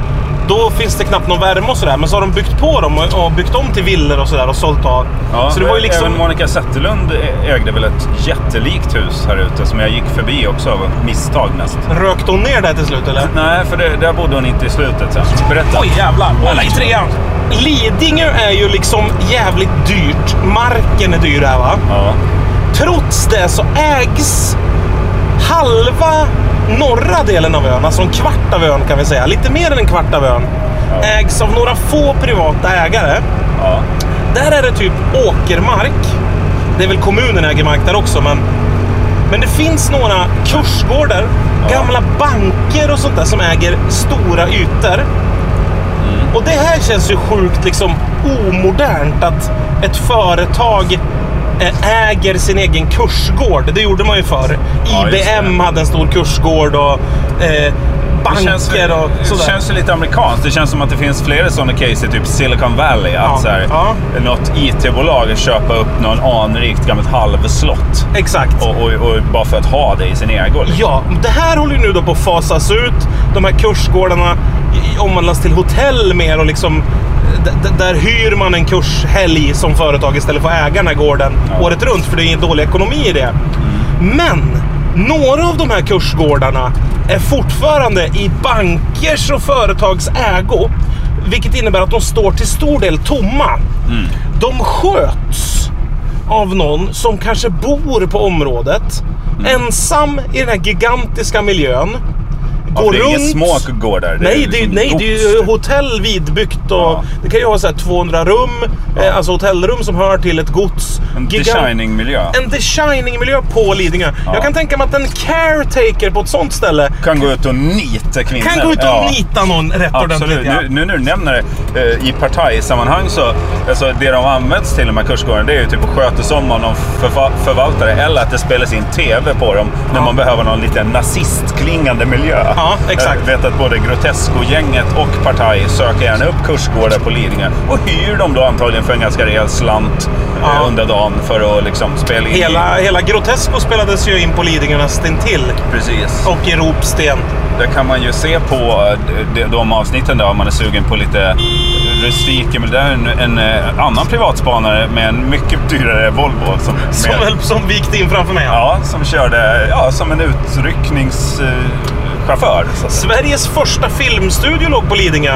Speaker 2: då finns det knappt någon värme och sådär. Men så har de byggt på dem och, och byggt om till villor och sådär och sålt av.
Speaker 1: Ja,
Speaker 2: så det var ju liksom...
Speaker 1: Även Monica Zetterlund ägde väl ett jättelikt hus här ute som jag gick förbi också av misstag nästan.
Speaker 2: Rökte hon ner där till slut eller?
Speaker 1: Nej, för det, där bodde hon inte i slutet sen. Berätta.
Speaker 2: Oj jävlar, alla i
Speaker 1: Oj.
Speaker 2: trean. Lidingö är ju liksom jävligt dyrt. Marken är dyr här va?
Speaker 1: Ja.
Speaker 2: Trots det så ägs halva norra delen av ön, alltså en kvart av ön kan vi säga, lite mer än en kvart av ön,
Speaker 1: Ja.
Speaker 2: ägs av några få privata ägare.
Speaker 1: ja.
Speaker 2: Där är det typ åkermark. Det är väl kommunen äger mark där också, men... Men det finns några kursgårdar, gamla banker och sånt där som äger stora ytor.
Speaker 1: Mm.
Speaker 2: Och det här känns ju sjukt liksom omodernt att ett företag eh, äger sin egen kursgård. Det gjorde man ju förr.
Speaker 1: Ja, just det.
Speaker 2: IBM hade en stor kursgård och eh,
Speaker 1: Det känns,
Speaker 2: banker och
Speaker 1: det
Speaker 2: sådär.
Speaker 1: känns ju lite amerikanskt. Det känns som att det finns flera sådana case i typ Silicon Valley. Att
Speaker 2: Ja,
Speaker 1: så här,
Speaker 2: ja.
Speaker 1: något IT-bolag köpa upp någon anrikt gammalt halvslott.
Speaker 2: Exakt.
Speaker 1: Och, och, och bara för att ha det i sin ägo. Liksom.
Speaker 2: Ja, det här håller ju nu då på att fasas ut. De här kursgårdarna i- omvandlas till hotell mer och liksom d- d- där hyr man en kurshelg som företag istället för att äga den här gården året runt för det är ingen dålig ekonomi i det. Men några av de här kursgårdarna är fortfarande i bankers och företags ägo. Vilket innebär att de står till stor del tomma. De sköts av någon som kanske bor på området.
Speaker 1: Mm.
Speaker 2: Ensam i den här gigantiska miljön.
Speaker 1: Ja,
Speaker 2: Går
Speaker 1: för det är
Speaker 2: runt.
Speaker 1: inga små gårdar. Det
Speaker 2: nej,
Speaker 1: är
Speaker 2: det, är-
Speaker 1: liksom
Speaker 2: nej, det är ju
Speaker 1: gods.
Speaker 2: hotell vidbyggt och
Speaker 1: Ja.
Speaker 2: det kan ju vara så här 200 rum. Eh, alltså hotellrum som hör till ett gods.
Speaker 1: En The
Speaker 2: Gigant-
Speaker 1: Shining-miljö.
Speaker 2: en The Shining-miljö på Lidingö. Jag kan tänka mig att en caretaker på ett sånt ställe
Speaker 1: Kan gå ut och nita kvinnor.
Speaker 2: kan gå ut och
Speaker 1: Ja.
Speaker 2: nita någon rätt
Speaker 1: Absolut.
Speaker 2: ordentligt. Ja.
Speaker 1: Nu, nu när du nämner det, eh, i partajsammanhang så, alltså det de används till de här kursgårdarna det är ju typ att skötas om av någon förfa- förvaltare eller att det spelas in TV på dem när
Speaker 2: Ja.
Speaker 1: man behöver någon liten nazistklingande miljö.
Speaker 2: Ja, exakt.
Speaker 1: Jag vet att både Grotesco-gänget och Partaj söker gärna upp kursgårdar på Lidingö och hyr dem då antagligen för en ganska rejäl slant eh,
Speaker 2: Ja.
Speaker 1: under dagen för att liksom spela in. i-
Speaker 2: Hela, hela Grotesco spelades ju in på Lidingö nästintill
Speaker 1: Precis.
Speaker 2: och i Ropsten.
Speaker 1: Det kan man ju se på eh, de- de avsnitten där om man är sugen på lite rustik. Men det är en, en eh, annan privatspanare med en mycket dyrare Volvo. Som,
Speaker 2: Som,
Speaker 1: med,
Speaker 2: höll- som vikt in framför mig.
Speaker 1: ja, som körde ja, som en utryckningschaufför. Så att,
Speaker 2: Sveriges första filmstudio låg på Lidingö.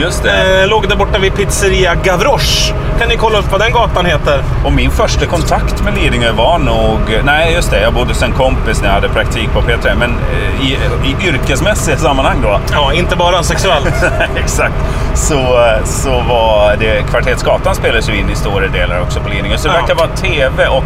Speaker 1: just det.
Speaker 2: Eh, låg där borta vid pizzeria Gavroche. Kan ni kolla upp vad den gatan heter?
Speaker 1: Och min första kontakt med Lidingö var nog... Nej, just det. Jag bodde hos en kompis när jag hade praktik på P3. Men eh, i, i yrkesmässiga sammanhang då.
Speaker 2: Ja, inte bara sexuellt.
Speaker 1: Exakt. Så, så var det Kvartetsgatan spelades ju in i stora delar också på Lidingö. Så det
Speaker 2: Ja.
Speaker 1: verkar vara TV och,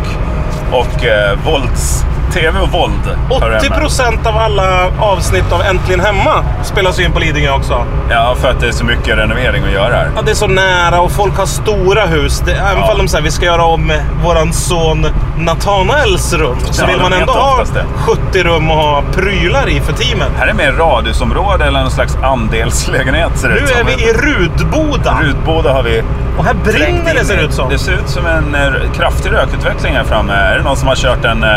Speaker 1: och eh, vålds... TV och våld. hör hemma.
Speaker 2: 80% av alla avsnitt av Äntligen Hemma spelas ju in på Lidingö också.
Speaker 1: Ja, för att det är så mycket renovering att göra här.
Speaker 2: Ja, det är så nära och folk har stora hus. Det, även
Speaker 1: Ja.
Speaker 2: om de säger vi ska göra om våran son Nathanaels rum så
Speaker 1: Ja,
Speaker 2: vill
Speaker 1: de
Speaker 2: man
Speaker 1: vet
Speaker 2: ändå ha
Speaker 1: oftast det.
Speaker 2: 70 rum och ha prylar i för teamen.
Speaker 1: Här är mer radhusområde eller någon slags andelslägenhet ser det
Speaker 2: Nu
Speaker 1: ut som.
Speaker 2: är vi i Rudboda
Speaker 1: Rutboda har vi
Speaker 2: och här
Speaker 1: trängt
Speaker 2: brinner det
Speaker 1: in
Speaker 2: ser
Speaker 1: i.
Speaker 2: det ut som.
Speaker 1: Det ser ut som en eh, kraftig rökutveckling här framme. Är det någon som har kört en eh,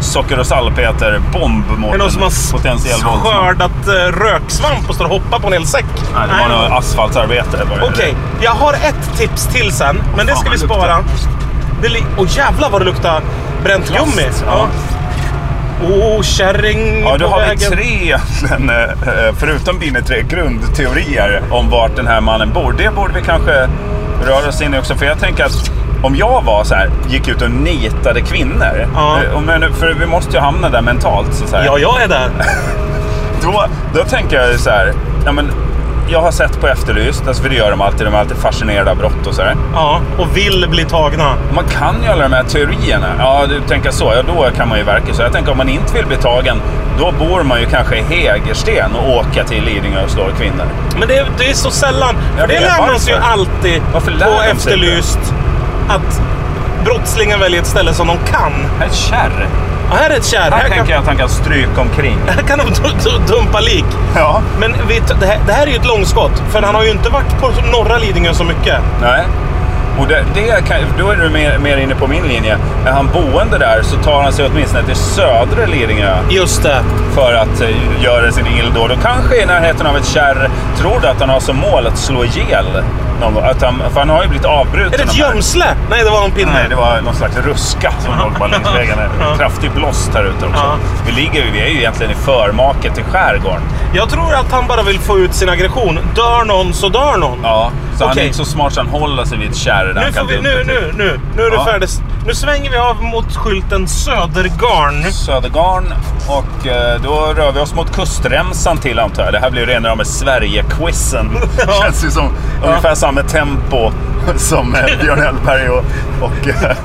Speaker 1: socker och salpeterbomb mot
Speaker 2: Är det någon som har
Speaker 1: en potentiell
Speaker 2: s-
Speaker 1: våldsman?
Speaker 2: skördat eh, röksvamp och står och hoppar på en hel säck?
Speaker 1: Nej, det var
Speaker 2: Nej.
Speaker 1: något asfaltsarbete. var det.
Speaker 2: Okej, jag har ett tips till sen, men det
Speaker 1: fan,
Speaker 2: ska vi
Speaker 1: vad det
Speaker 2: spara. Det li- Åh jävlar vad det luktar bränt
Speaker 1: Plast,
Speaker 2: gummi.
Speaker 1: ja.
Speaker 2: Ja. Åh, kärring
Speaker 1: Ja, då
Speaker 2: på
Speaker 1: har
Speaker 2: vägen.
Speaker 1: vi tre egentligen, eh, eh, förutom dina tre grundteorier om vart den här mannen bor. Det borde vi kanske röra oss in i också, för jag tänker att om jag var så här, gick ut och nitade kvinnor,
Speaker 2: Ja.
Speaker 1: eh, och men, för vi måste ju hamna där mentalt, så, så här,
Speaker 2: Ja, jag är där.
Speaker 1: då, då tänker jag ju så här, ja, men, jag har sett på Efterlyst, alltså, för det gör de alltid, de är alltid fascinerade av brott och så här.
Speaker 2: Ja, och vill bli tagna.
Speaker 1: Man kan ju alla de här teorierna. Ja, du tänker så. Ja, då kan man ju verka så. Jag tänker om man inte vill bli tagen, då bor man ju kanske i Hägersten och åka till Lidingö och slå kvinnor.
Speaker 2: Men det, det är så sällan. För
Speaker 1: Jag
Speaker 2: det
Speaker 1: vet,
Speaker 2: lär man
Speaker 1: varför?
Speaker 2: sig ju alltid
Speaker 1: Varför lär de
Speaker 2: på
Speaker 1: sig inte?
Speaker 2: Efterlyst. Att brottslingen väljer ett ställe som de kan.
Speaker 1: Här är kärr.
Speaker 2: Ja, här är ett kärr.
Speaker 1: Här,
Speaker 2: Här,
Speaker 1: tänker
Speaker 2: kan-
Speaker 1: jag att han kan stryka omkring.
Speaker 2: här kan de d- d- dumpa lik.
Speaker 1: Ja.
Speaker 2: Men vet, du, det, här, det här är ju ett långskott. För han har ju inte varit på norra Lidingö så mycket.
Speaker 1: Nej. Och det, det kan, då är du mer, mer inne på min linje. Är han boende där så tar han sig åtminstone till södra Lidingö
Speaker 2: Just det.
Speaker 1: för att eh, göra sin illdåd. Och kanske i närheten av ett kärr tror du att han har som mål att slå ihjäl någon gång. Att han, för han har ju blivit avbruten.
Speaker 2: Är det
Speaker 1: av
Speaker 2: ett
Speaker 1: här.
Speaker 2: gömsle? Nej, det var någon pinne.
Speaker 1: Nej, det var någon slags ruska som låg på längs vägen. En kraftig blåst här ute också.
Speaker 2: Ja.
Speaker 1: Vi, ligger, ju- vi är ju egentligen i förmaket till skärgården.
Speaker 2: Jag tror att han bara vill få ut sin aggression. Dör någon så dör någon.
Speaker 1: Ja, så han är
Speaker 2: Okej.
Speaker 1: inte så smart så han håller sig vid ett kärr där han
Speaker 2: Nu, får
Speaker 1: kan
Speaker 2: vi,
Speaker 1: dumpa
Speaker 2: nu,
Speaker 1: till.
Speaker 2: nu, nu, nu är det
Speaker 1: Ja.
Speaker 2: färdigt. Nu svänger vi av mot skylten Södergarn.
Speaker 1: Södergarn och eh, då rör vi oss mot kustremsan till antar jag. Det här blir ju rena rama Sverige-quizen.
Speaker 2: Ja.
Speaker 1: Känns ju som ungefär samma tempo. som eh, Björn Hellberg och... och eh,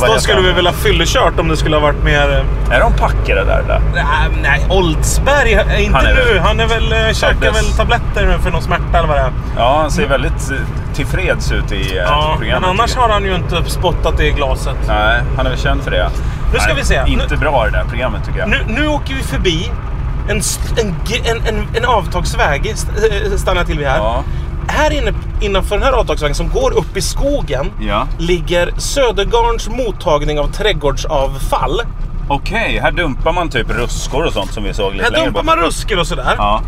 Speaker 1: vad
Speaker 2: då
Speaker 1: heter
Speaker 2: skulle
Speaker 1: han?
Speaker 2: vi väl ha fyllekört om det skulle ha varit mer... eh,
Speaker 1: Är de packade där? eller?
Speaker 2: Nej, nej Oldsberg, eh, inte
Speaker 1: Han är
Speaker 2: nu.
Speaker 1: väl-
Speaker 2: Han är väl, eh, käkar
Speaker 1: Tablets.
Speaker 2: väl tabletter för någon smärta eller vad det är.
Speaker 1: Ja, han ser väldigt eh, tillfreds ut i eh,
Speaker 2: Mm. Ja,
Speaker 1: programmet.
Speaker 2: men annars
Speaker 1: tycker jag.
Speaker 2: har han ju inte spottat det i glaset.
Speaker 1: Nej, han är väl känd för det.
Speaker 2: Nu ska
Speaker 1: Nej,
Speaker 2: vi se.
Speaker 1: Inte bra det där programmet tycker jag.
Speaker 2: Nu, nu åker vi förbi en, st- en, g- en, en, en avtagsväg. st- eh, Stannar till vi här.
Speaker 1: Ja.
Speaker 2: Här inne innanför den här avtagsvägen som går upp i skogen
Speaker 1: Ja.
Speaker 2: ligger Södergarns mottagning av trädgårdsavfall.
Speaker 1: Okej, här dumpar man typ ruskor och sånt som vi såg lite
Speaker 2: Här
Speaker 1: längre
Speaker 2: dumpar
Speaker 1: bak.
Speaker 2: man ruskor och sådär.
Speaker 1: Ja.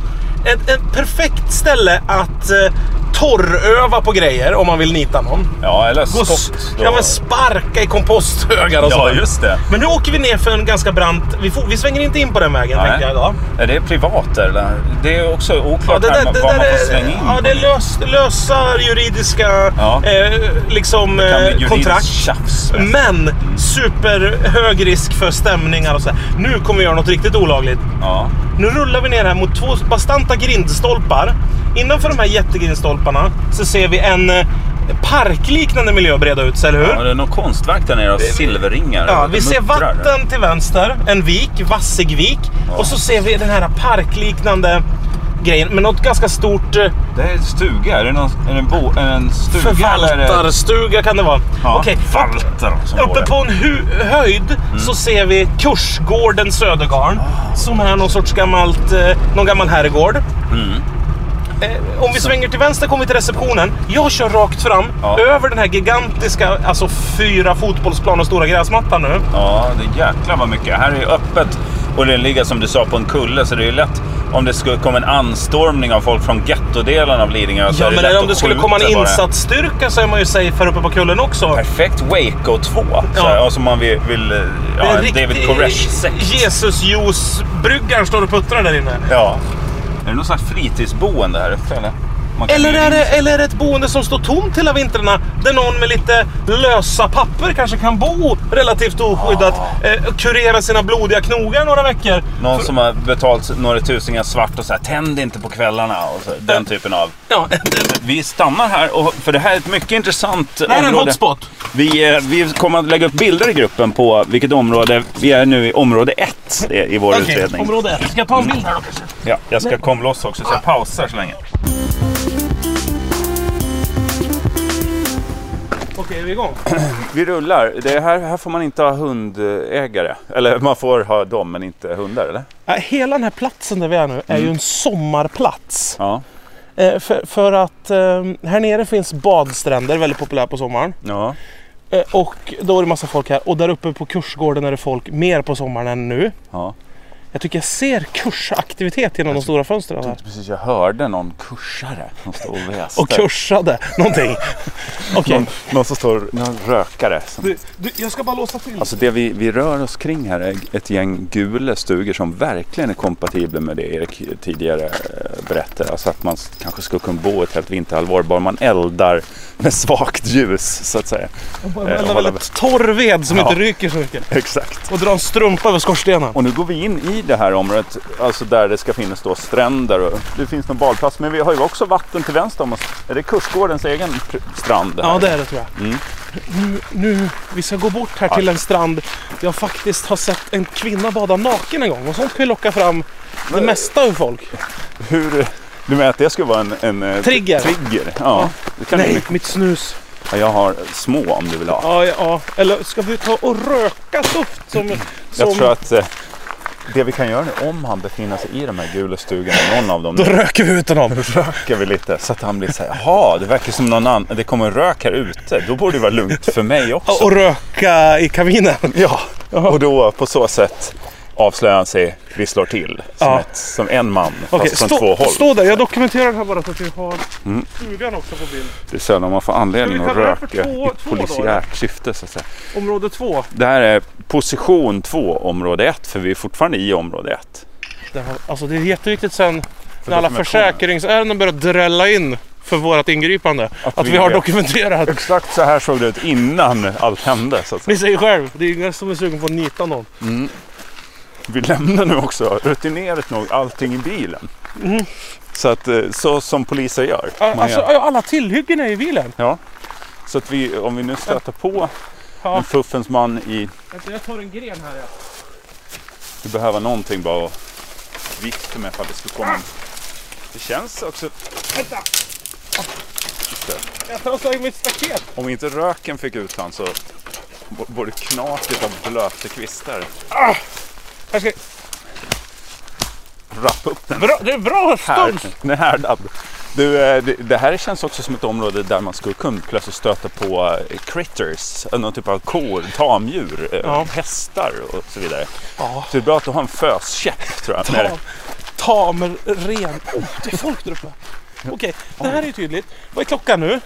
Speaker 2: Ett, ett perfekt ställe att eh, torröva på grejer om man vill nita någon.
Speaker 1: ja, eller
Speaker 2: Gå s-
Speaker 1: skott. då.
Speaker 2: ja, men sparka i komposthögar och
Speaker 1: ja,
Speaker 2: sådär.
Speaker 1: just det.
Speaker 2: Men nu åker vi ner för en ganska brant... Vi, får, vi svänger inte in på den vägen
Speaker 1: Nej.
Speaker 2: tänkte jag idag.
Speaker 1: Är det privat eller? Det är också oklart här med vad man får slänga in.
Speaker 2: ja,
Speaker 1: på.
Speaker 2: det är lös, lösa juridiska
Speaker 1: Ja.
Speaker 2: eh, liksom,
Speaker 1: kan bli
Speaker 2: eh,
Speaker 1: juridiskt
Speaker 2: kontrakt.
Speaker 1: tjafs.
Speaker 2: Men superhög risk för stämningar och så. här. Nu kommer vi göra något riktigt olagligt.
Speaker 1: Ja.
Speaker 2: Nu rullar vi ner här mot två bastanta grindstolpar. Innanför de här jättegrindstolparna så ser vi en eh, parkliknande miljö breda ut sig, eller hur?
Speaker 1: ja, det är något konstverk där nere. Silverringar.
Speaker 2: Ja,
Speaker 1: Det
Speaker 2: vi ser
Speaker 1: muttrar.
Speaker 2: vatten till vänster, en vik, Vassigvik. Och så ser vi den här parkliknande grejen med något ganska stort eh,
Speaker 1: Det är en stuga. Är det, någon, är det en, bo, en stuga? eller är det-
Speaker 2: förvaltarstuga kan det vara.
Speaker 1: Ja,
Speaker 2: Okej,
Speaker 1: Valter som bor
Speaker 2: Uppe
Speaker 1: där.
Speaker 2: på en hu- höjd
Speaker 1: Mm.
Speaker 2: så ser vi Kursgården Södergarn.
Speaker 1: Ah.
Speaker 2: Som är någon sorts gammalt, eh, någon gammal herrgård.
Speaker 1: Mm.
Speaker 2: Eh, om vi svänger till vänster kommer vi till receptionen. Jag kör rakt fram
Speaker 1: Ja.
Speaker 2: över den här gigantiska, alltså fyra fotbollsplan och stora gräsmattan nu.
Speaker 1: Ja, det är jäklar vad mycket. Här är ju öppet och det ligger som du sa på en kulle så det är ju lätt om det skulle komma en anstormning av folk från gettodelen av Lidingö så
Speaker 2: Ja,
Speaker 1: är det
Speaker 2: men
Speaker 1: lätt
Speaker 2: om
Speaker 1: att
Speaker 2: det skulle
Speaker 1: skjuta
Speaker 2: komma en
Speaker 1: bara.
Speaker 2: insatsstyrka så är man ju safe här uppe på kullen också.
Speaker 1: Perfekt Waco 2. Så
Speaker 2: Ja.
Speaker 1: här, och som man vill, vill eh,
Speaker 2: Det är
Speaker 1: ja,
Speaker 2: en
Speaker 1: en
Speaker 2: riktig
Speaker 1: David Koresh-sekt.
Speaker 2: Jesusjuice-bryggaren står och puttrar där inne.
Speaker 1: Ja. Är det någon slags fritidsboende här uppe eller? Man kan
Speaker 2: Eller
Speaker 1: ju
Speaker 2: är, det,
Speaker 1: ringa.
Speaker 2: eller är det ett boende som står tomt hela vintrarna där någon med lite lösa papper kanske kan bo relativt oskyddat eh, och kurera sina blodiga knogar några veckor?
Speaker 1: Någon som har betalt några tusingar svart och så här, tänd inte på kvällarna. Och så, den typen av.
Speaker 2: Ja,
Speaker 1: Vi stannar här, och, för det här är ett mycket intressant
Speaker 2: det här är en
Speaker 1: område.
Speaker 2: hotspot.
Speaker 1: Vi, eh, vi kommer att lägga upp bilder i gruppen på vilket område. Vi är nu i område 1 i vår
Speaker 2: Okej,
Speaker 1: utredning.
Speaker 2: område 1. Ska jag ta en bild här då kanske?
Speaker 1: Ja, jag ska komma loss också så jag pausar så länge.
Speaker 2: Okej, är vi igång?
Speaker 1: Vi rullar. Det här, här får man inte ha hundägare. Eller man får ha dem men inte hundar eller?
Speaker 2: Ja, Hela den här platsen där vi är nu är ju en sommarplats.
Speaker 1: Ja.
Speaker 2: Eh, för, för att eh, här nere finns badstränder, väldigt populära på sommaren.
Speaker 1: ja.
Speaker 2: Eh, och då är det massa folk här. Och där uppe på kursgården är det folk mer på sommaren än nu.
Speaker 1: ja.
Speaker 2: Jag tycker jag ser kursaktivitet genom de stora fönstren här.
Speaker 1: Precis, jag hörde någon kursare som stod och väste.
Speaker 2: Och kursade någonting. Okej.
Speaker 1: Någon, någon som står, någon rökare. Som...
Speaker 2: Du, du, jag ska bara låsa till.
Speaker 1: Alltså det vi, vi rör oss kring här är ett gäng gula stugor som verkligen är kompatibla med det Erik tidigare eh, berättade. Alltså att man s- kanske skulle kunna bo ett helt vinterhalvår bara man eldar med svagt ljus så att säga. eh,
Speaker 2: Elda
Speaker 1: hålla-
Speaker 2: väldigt torr ved som
Speaker 1: Ja.
Speaker 2: inte ryker så mycket.
Speaker 1: Exakt.
Speaker 2: Och dra en strumpa över skorstenen.
Speaker 1: Och nu går vi in i det här området, alltså där det ska finnas då stränder och det finns någon badplats. Men vi har ju också vatten till vänster om oss. Är det Kursgårdens egen pr- strand? här?
Speaker 2: Ja, det är det tror jag.
Speaker 1: Mm.
Speaker 2: Nu, nu, vi ska gå bort här till en strand. Jag faktiskt har sett en kvinna bada naken en gång. Och sånt kan ju locka fram det mesta ur folk.
Speaker 1: Hur, du menar att det skulle vara en, en eh,
Speaker 2: Trigger.
Speaker 1: trigger? Ja. Det kan
Speaker 2: Nej,
Speaker 1: Nej.
Speaker 2: mitt snus.
Speaker 1: Jag har små om du vill ha.
Speaker 2: Ja, ja, ja. Eller ska vi ta och röka doft som... som...
Speaker 1: Jag tror att eh, det vi kan göra nu, om han befinner sig i de här gula stugorna, någon av dem,
Speaker 2: Då
Speaker 1: då
Speaker 2: röker vi ut honom.
Speaker 1: röker vi lite så att han blir så här, jaha, det verkar som någon annan, det kommer rök här ute, då borde det vara lugnt för mig också.
Speaker 2: Och röka i kaminen.
Speaker 1: Ja, och då på så sätt avslöjar han sig, vi slår till som,
Speaker 2: Ja.
Speaker 1: ett, som en man,
Speaker 2: Okej,
Speaker 1: fast från två
Speaker 2: stå,
Speaker 1: håll. Mm.
Speaker 2: stå där. Jag dokumenterar den här bara så att vi har stugan också på bild.
Speaker 1: Det är sällan man får anledning
Speaker 2: Ska vi
Speaker 1: att
Speaker 2: kalla det för
Speaker 1: röka
Speaker 2: två-
Speaker 1: i
Speaker 2: två då,
Speaker 1: polisiärt syfte så att säga.
Speaker 2: Område två.
Speaker 1: Det här är position två, område ett, för vi är fortfarande i område ett.
Speaker 2: Det, här, alltså det är jätteviktigt sen när alla
Speaker 1: dokumentationen.
Speaker 2: försäkringsärenden börjar drälla in för vårt ingripande. Att,
Speaker 1: vi
Speaker 2: vi har
Speaker 1: vet.
Speaker 2: dokumenterat.
Speaker 1: Exakt så här såg det ut innan allt hände. Så att säga.
Speaker 2: Ni säger själv, det är ingen som är sugen på att nita någon.
Speaker 1: Vi lämnar nu också rutinerat nog allting i bilen. Så, att, eh, så som poliser gör. Man
Speaker 2: Mm. Alltså,
Speaker 1: gör.
Speaker 2: ja, alla tillhyggen är i bilen.
Speaker 1: Ja. Så att vi, om vi nu stöter på
Speaker 2: Ja.
Speaker 1: en fuffens man i...
Speaker 2: Vänta, Jag tar en gren här. Ja.
Speaker 1: Du behöver någonting bara att vikta med för att det ska komma. en- Det känns också...
Speaker 2: Vänta!
Speaker 1: Just det.
Speaker 2: Jag tar tag i mitt staket.
Speaker 1: Om inte röken fick ut han så b- både knaket av blöta kvistar.
Speaker 2: Här ska...
Speaker 1: Rappa upp den
Speaker 2: bra, det är bra
Speaker 1: här.
Speaker 2: stuns!
Speaker 1: Den här dabb. Du, eh, det- det här känns också som ett område där man skulle kunna plötsligt stöta på eh, critters, eh, någon typ av kor, tamdjur, ja.
Speaker 2: Ja.
Speaker 1: hästar och så vidare.
Speaker 2: Ja.
Speaker 1: Så det är bra att du har en föskäpp tror jag. med dig.
Speaker 2: Tamerren. Oh, det är folk där uppe. Okej, det här är ju tydligt. Vad är klockan nu?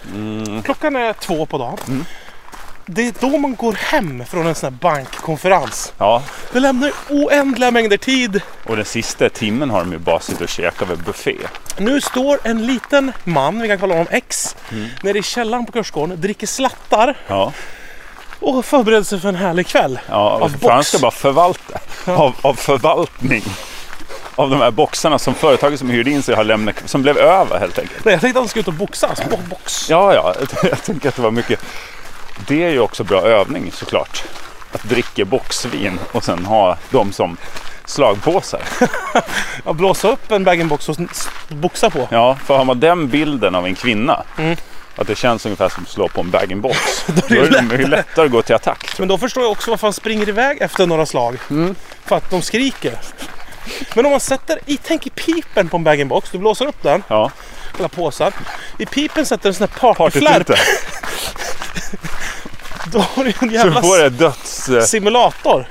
Speaker 2: Klockan är två på dagen. Det är då man går hem från en sån här bankkonferens.
Speaker 1: Ja,
Speaker 2: Det lämnar ju oändliga mängder tid.
Speaker 1: och den sista timmen har de ju bara suttit och käkat vid buffé.
Speaker 2: Nu står en liten man, vi kan kalla honom X, nere i källaren på kursgården, dricker slattar
Speaker 1: Ja,
Speaker 2: och förbereder sig för en härlig kväll.
Speaker 1: ja
Speaker 2: Av
Speaker 1: för
Speaker 2: box.
Speaker 1: han ska bara förvalta. Av, av förvaltning. Av de här boxarna som företaget som hyrde in sig har lämnat, som blev över helt enkelt.
Speaker 2: Nej, jag tänkte att han skulle ut och boxas. Bo- Box.
Speaker 1: Ja, ja. Jag tänker att det var mycket. Det är ju också bra övning såklart. Att dricka boxvin och sen ha dem som slagpåsar.
Speaker 2: Ja, blåsa upp en bag-in-box och s- boxa på.
Speaker 1: Ja, för har man den bilden av en kvinna. Att det känns ungefär som att slå på en bag-in-box. Mm. då är det mycket lättare att gå till attack.
Speaker 2: Men då förstår jag också varför han springer iväg efter några slag.
Speaker 1: Mm.
Speaker 2: För att de skriker. Men om man sätter i, tänk i pipen på en bag-in-box, du blåser upp den,
Speaker 1: Ja,
Speaker 2: hela påsar. I pipen sätter du en sån här partyflärp.
Speaker 1: partyflirten.
Speaker 2: Då har du en
Speaker 1: Så du
Speaker 2: jävla
Speaker 1: får det döds, eh,
Speaker 2: simulator.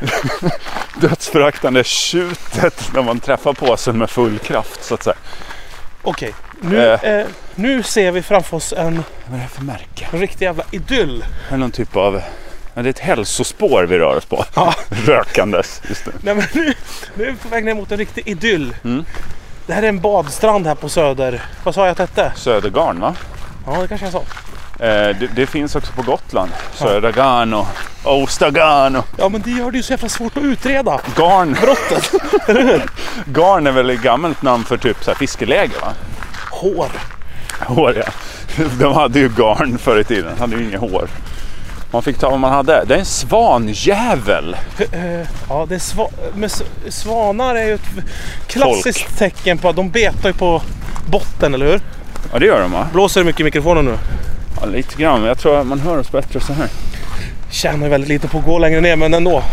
Speaker 1: dödsföraktande tjutet när man träffar påsen med full kraft så att säga.
Speaker 2: Okej, nu,
Speaker 1: Eh.
Speaker 2: eh, nu ser vi framför oss en
Speaker 1: Vad är det för märke?
Speaker 2: riktig jävla idyll.
Speaker 1: Är det någon typ av... Ja, det är ett hälsospår vi rör oss på.
Speaker 2: Ja.
Speaker 1: Rökandes. Just det.
Speaker 2: Nej, men nu, nu är vi på väg ner mot en riktig idyll.
Speaker 1: Mm.
Speaker 2: Det här är en badstrand här på Söder. Vad sa jag att det hette?
Speaker 1: Södergarn va?
Speaker 2: Ja, det kanske jag sa.
Speaker 1: Eh, det, det finns också på Gotland. Södra Garn och Ostagarn och
Speaker 2: Ja, men det gör det ju så jävla svårt att utreda.
Speaker 1: Garn. Brottet! garn är väl ett gammalt namn för typ så här fiskeläge va?
Speaker 2: Hår.
Speaker 1: Hår ja. De hade ju garn förr i tiden. De hade ju inget hår. Man fick ta vad man hade. Det är en svanjävel.
Speaker 2: Eh, Ja, det är sva- men s- svanar är ju ett klassiskt tecken på att de betar ju på botten, eller hur?
Speaker 1: Ja det gör de va?
Speaker 2: Blåser det mycket i mikrofonen nu?
Speaker 1: Ja, lite grann. men Jag tror att man hör oss bättre så här.
Speaker 2: Tjänar ju väldigt lite på att gå längre ner, men ändå. alltså.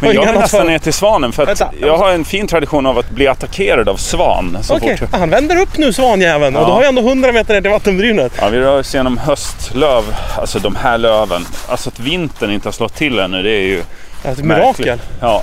Speaker 1: Men
Speaker 2: Och
Speaker 1: jag
Speaker 2: inga
Speaker 1: går nästan
Speaker 2: annat-
Speaker 1: ner till svanen för att
Speaker 2: Vänta.
Speaker 1: jag har en fin tradition av att bli attackerad av svan. Så
Speaker 2: Okej,
Speaker 1: fort.
Speaker 2: han vänder upp nu svanjäveln och
Speaker 1: Ja.
Speaker 2: då har jag ändå 100 meter ner till vattenbrynet.
Speaker 1: Ja, vi rör oss genom höstlöv, alltså de här löven. Alltså att vintern inte har slått till ännu, det är ju
Speaker 2: Det är ett
Speaker 1: märkligt.
Speaker 2: Alltså, mirakel.
Speaker 1: Ja.